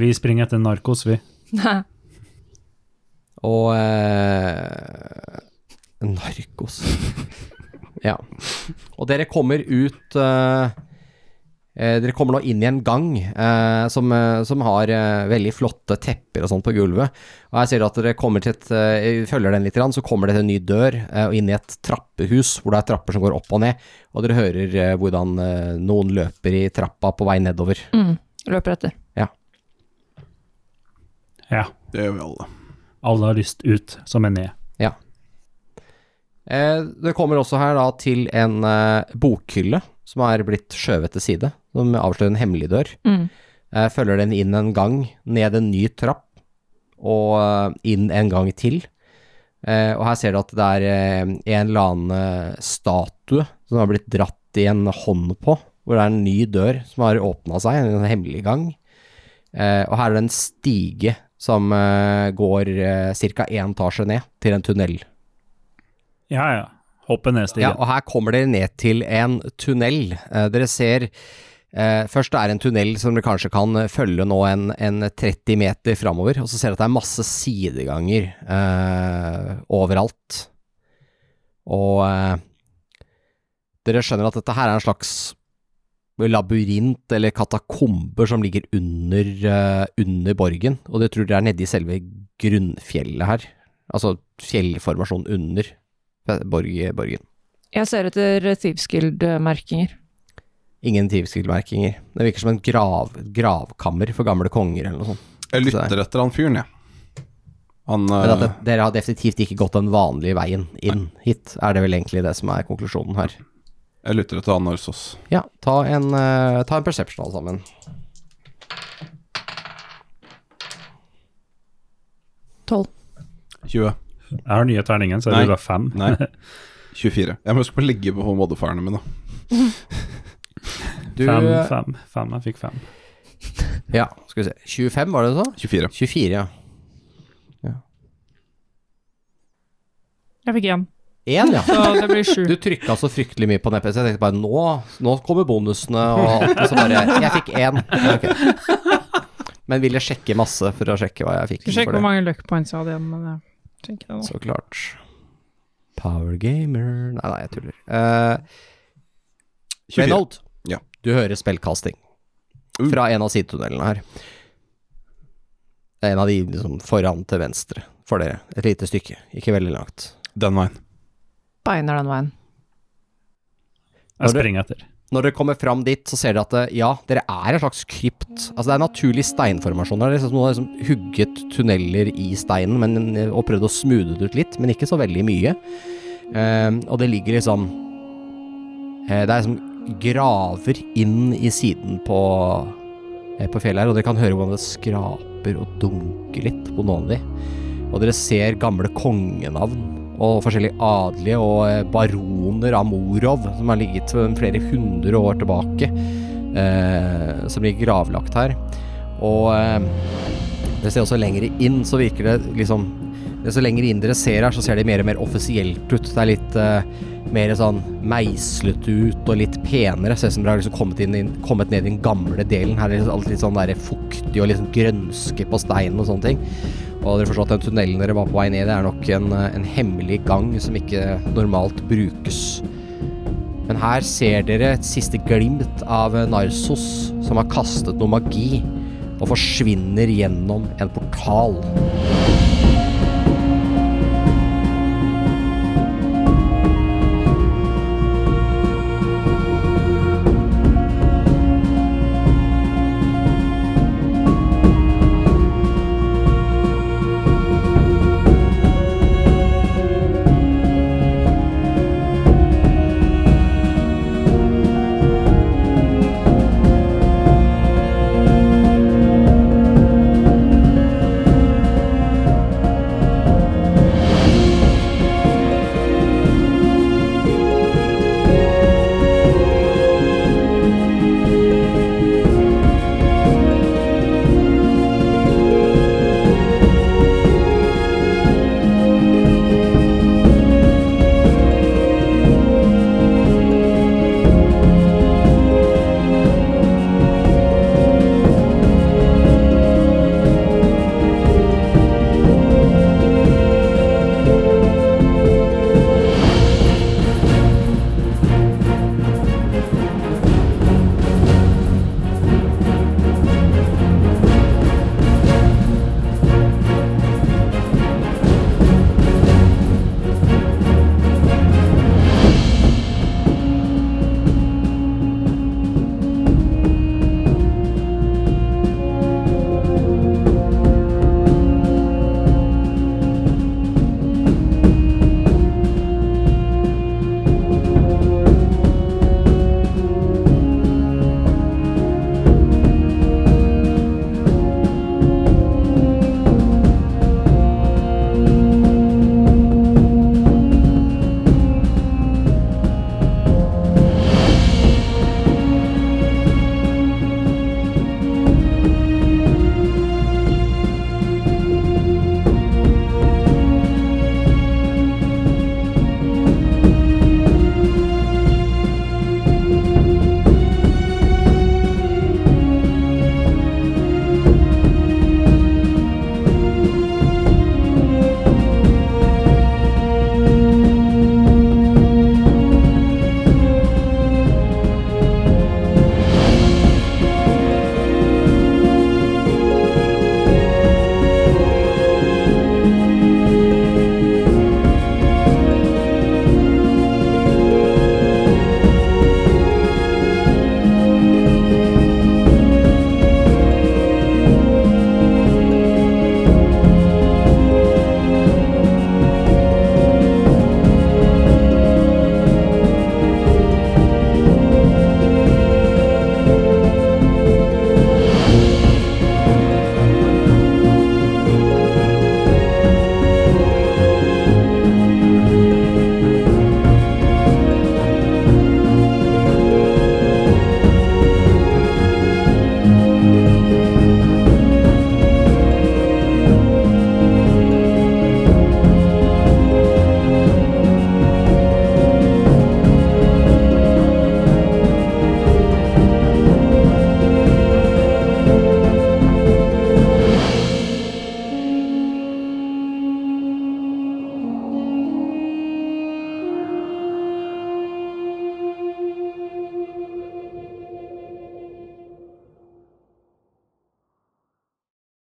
S7: Vi springer etter narkos, vi.
S3: Ja.
S2: Og eh, Narkos. ja. Og dere kommer ut eh, eh, Dere kommer nå inn i en gang eh, som, eh, som har eh, veldig flotte tepper og sånt på gulvet. Og jeg ser at dere kommer til et eh, Følger den litt, grann, så kommer dere til en ny dør eh, og inn i et trappehus hvor det er trapper som går opp og ned. Og dere hører eh, hvordan eh, noen løper i trappa på vei nedover.
S3: Mm, løper etter.
S7: Ja.
S6: Det gjør vi alle.
S7: Alle har lyst ut, som er ned.
S2: Eh, det kommer også her da til en eh, bokhylle som er blitt skjøvet til side, som avslører en hemmelig dør.
S3: Mm.
S2: Eh, følger den inn en gang, ned en ny trapp, og eh, inn en gang til. Eh, og her ser du at det er eh, en eller annen eh, statue som har blitt dratt i en hånd på, hvor det er en ny dør som har åpna seg, en hemmelig gang. Eh, og her er det en stige som eh, går eh, ca. én etasje ned til en tunnel.
S7: Ja, ja. Hoppe ned
S2: Ja,
S7: stigen.
S2: og her kommer dere ned til en tunnel. Eh, dere ser eh, Først det er en tunnel som dere kanskje kan eh, følge nå en, en 30 meter framover, og så ser dere at det er masse sideganger eh, overalt. Og eh, dere skjønner at dette her er en slags labyrint eller katakomber som ligger under, eh, under borgen, og det tror dere er nedi selve grunnfjellet her. Altså fjellformasjonen under eh, borg, borgen.
S3: Jeg ser etter Thieves Guild-merkinger.
S2: Ingen tivskillmerkinger. Det virker som en grav, gravkammer for gamle konger eller noe sånt.
S6: Jeg lytter etter han fyren, jeg. Han
S2: Men at
S6: eh,
S2: det, dere har definitivt ikke gått den vanlige veien inn hit, er det vel egentlig det som er konklusjonen her.
S6: Jeg lytter etter han Narsos.
S2: Ja, ta en, eh, ta en perception alle sammen.
S3: Tolv.
S6: 20.
S7: Jeg har nye terningen, så
S6: Nei.
S7: jeg ruller fem.
S6: Nei. 24. Jeg må huske på å legge på modifierne mine.
S2: Du,
S7: Fem,
S2: eh,
S7: fem, fem. Jeg fikk fem.
S2: ja, skal vi se. 25 var det du sa?
S6: 24.
S2: 24, ja.
S4: Jeg fikk én,
S2: Én, ja.
S4: så det blir sju.
S2: Du trykka så fryktelig mye på neppe, så jeg tenkte bare nå, nå kommer bonusene og alt, og så bare Jeg fikk én. Ja, ok. Men ville sjekke masse for å sjekke hva jeg fikk.
S4: Skal sjekke
S2: for det.
S4: hvor mange luck points jeg hadde igjen, men jeg tenker det nå.
S2: Så klart. Power gamer Nei, nei, jeg tuller. Eh,
S6: 24.
S2: Reynold,
S6: Ja.
S2: du hører spellkasting
S6: Uh.
S2: fra en av sidetunnelene her. Det er en av de liksom, foran til venstre for dere. Et lite stykke, ikke veldig langt.
S6: Den veien.
S3: Beiner den veien.
S2: Har
S7: Jeg
S2: du-
S7: springer etter.
S2: Når dere kommer fram dit, så ser dere at eh, ja, dere er en slags krypt. Altså det er naturlige steinformasjoner. Det er liksom noen har liksom hugget tunneler i steinen men, eh, og prøvd å smoothe det ut litt, men ikke så veldig mye. Ehm, og det ligger liksom eh, Det er liksom graver inn i siden på, eh, på fjellet her, og dere kan høre hvordan det skraper klapper og dunker litt på noen av de. Og dere ser gamle kongenavn og forskjellige adelige og eh, baroner av Morov som har ligget eh, flere hundre år tilbake, eh, som ligger gravlagt her. Og eh, dere ser også lengre inn, så virker det liksom Desto lenger inn dere ser her, så ser det mer og mer offisielt ut. Det er litt eh, mer sånn meislet ut og litt penere. Ser ut som dere har liksom kommet, inn, inn, kommet ned i den gamle delen. Her er det alt litt sånn der fuktig og liksom grønske på steinen og sånne ting. Og dere forstår at den tunnelen dere var på vei ned i, er nok en, eh, en hemmelig gang som ikke normalt brukes. Men her ser dere et siste glimt av eh, Narsos, som har kastet noe magi, og forsvinner gjennom en portal.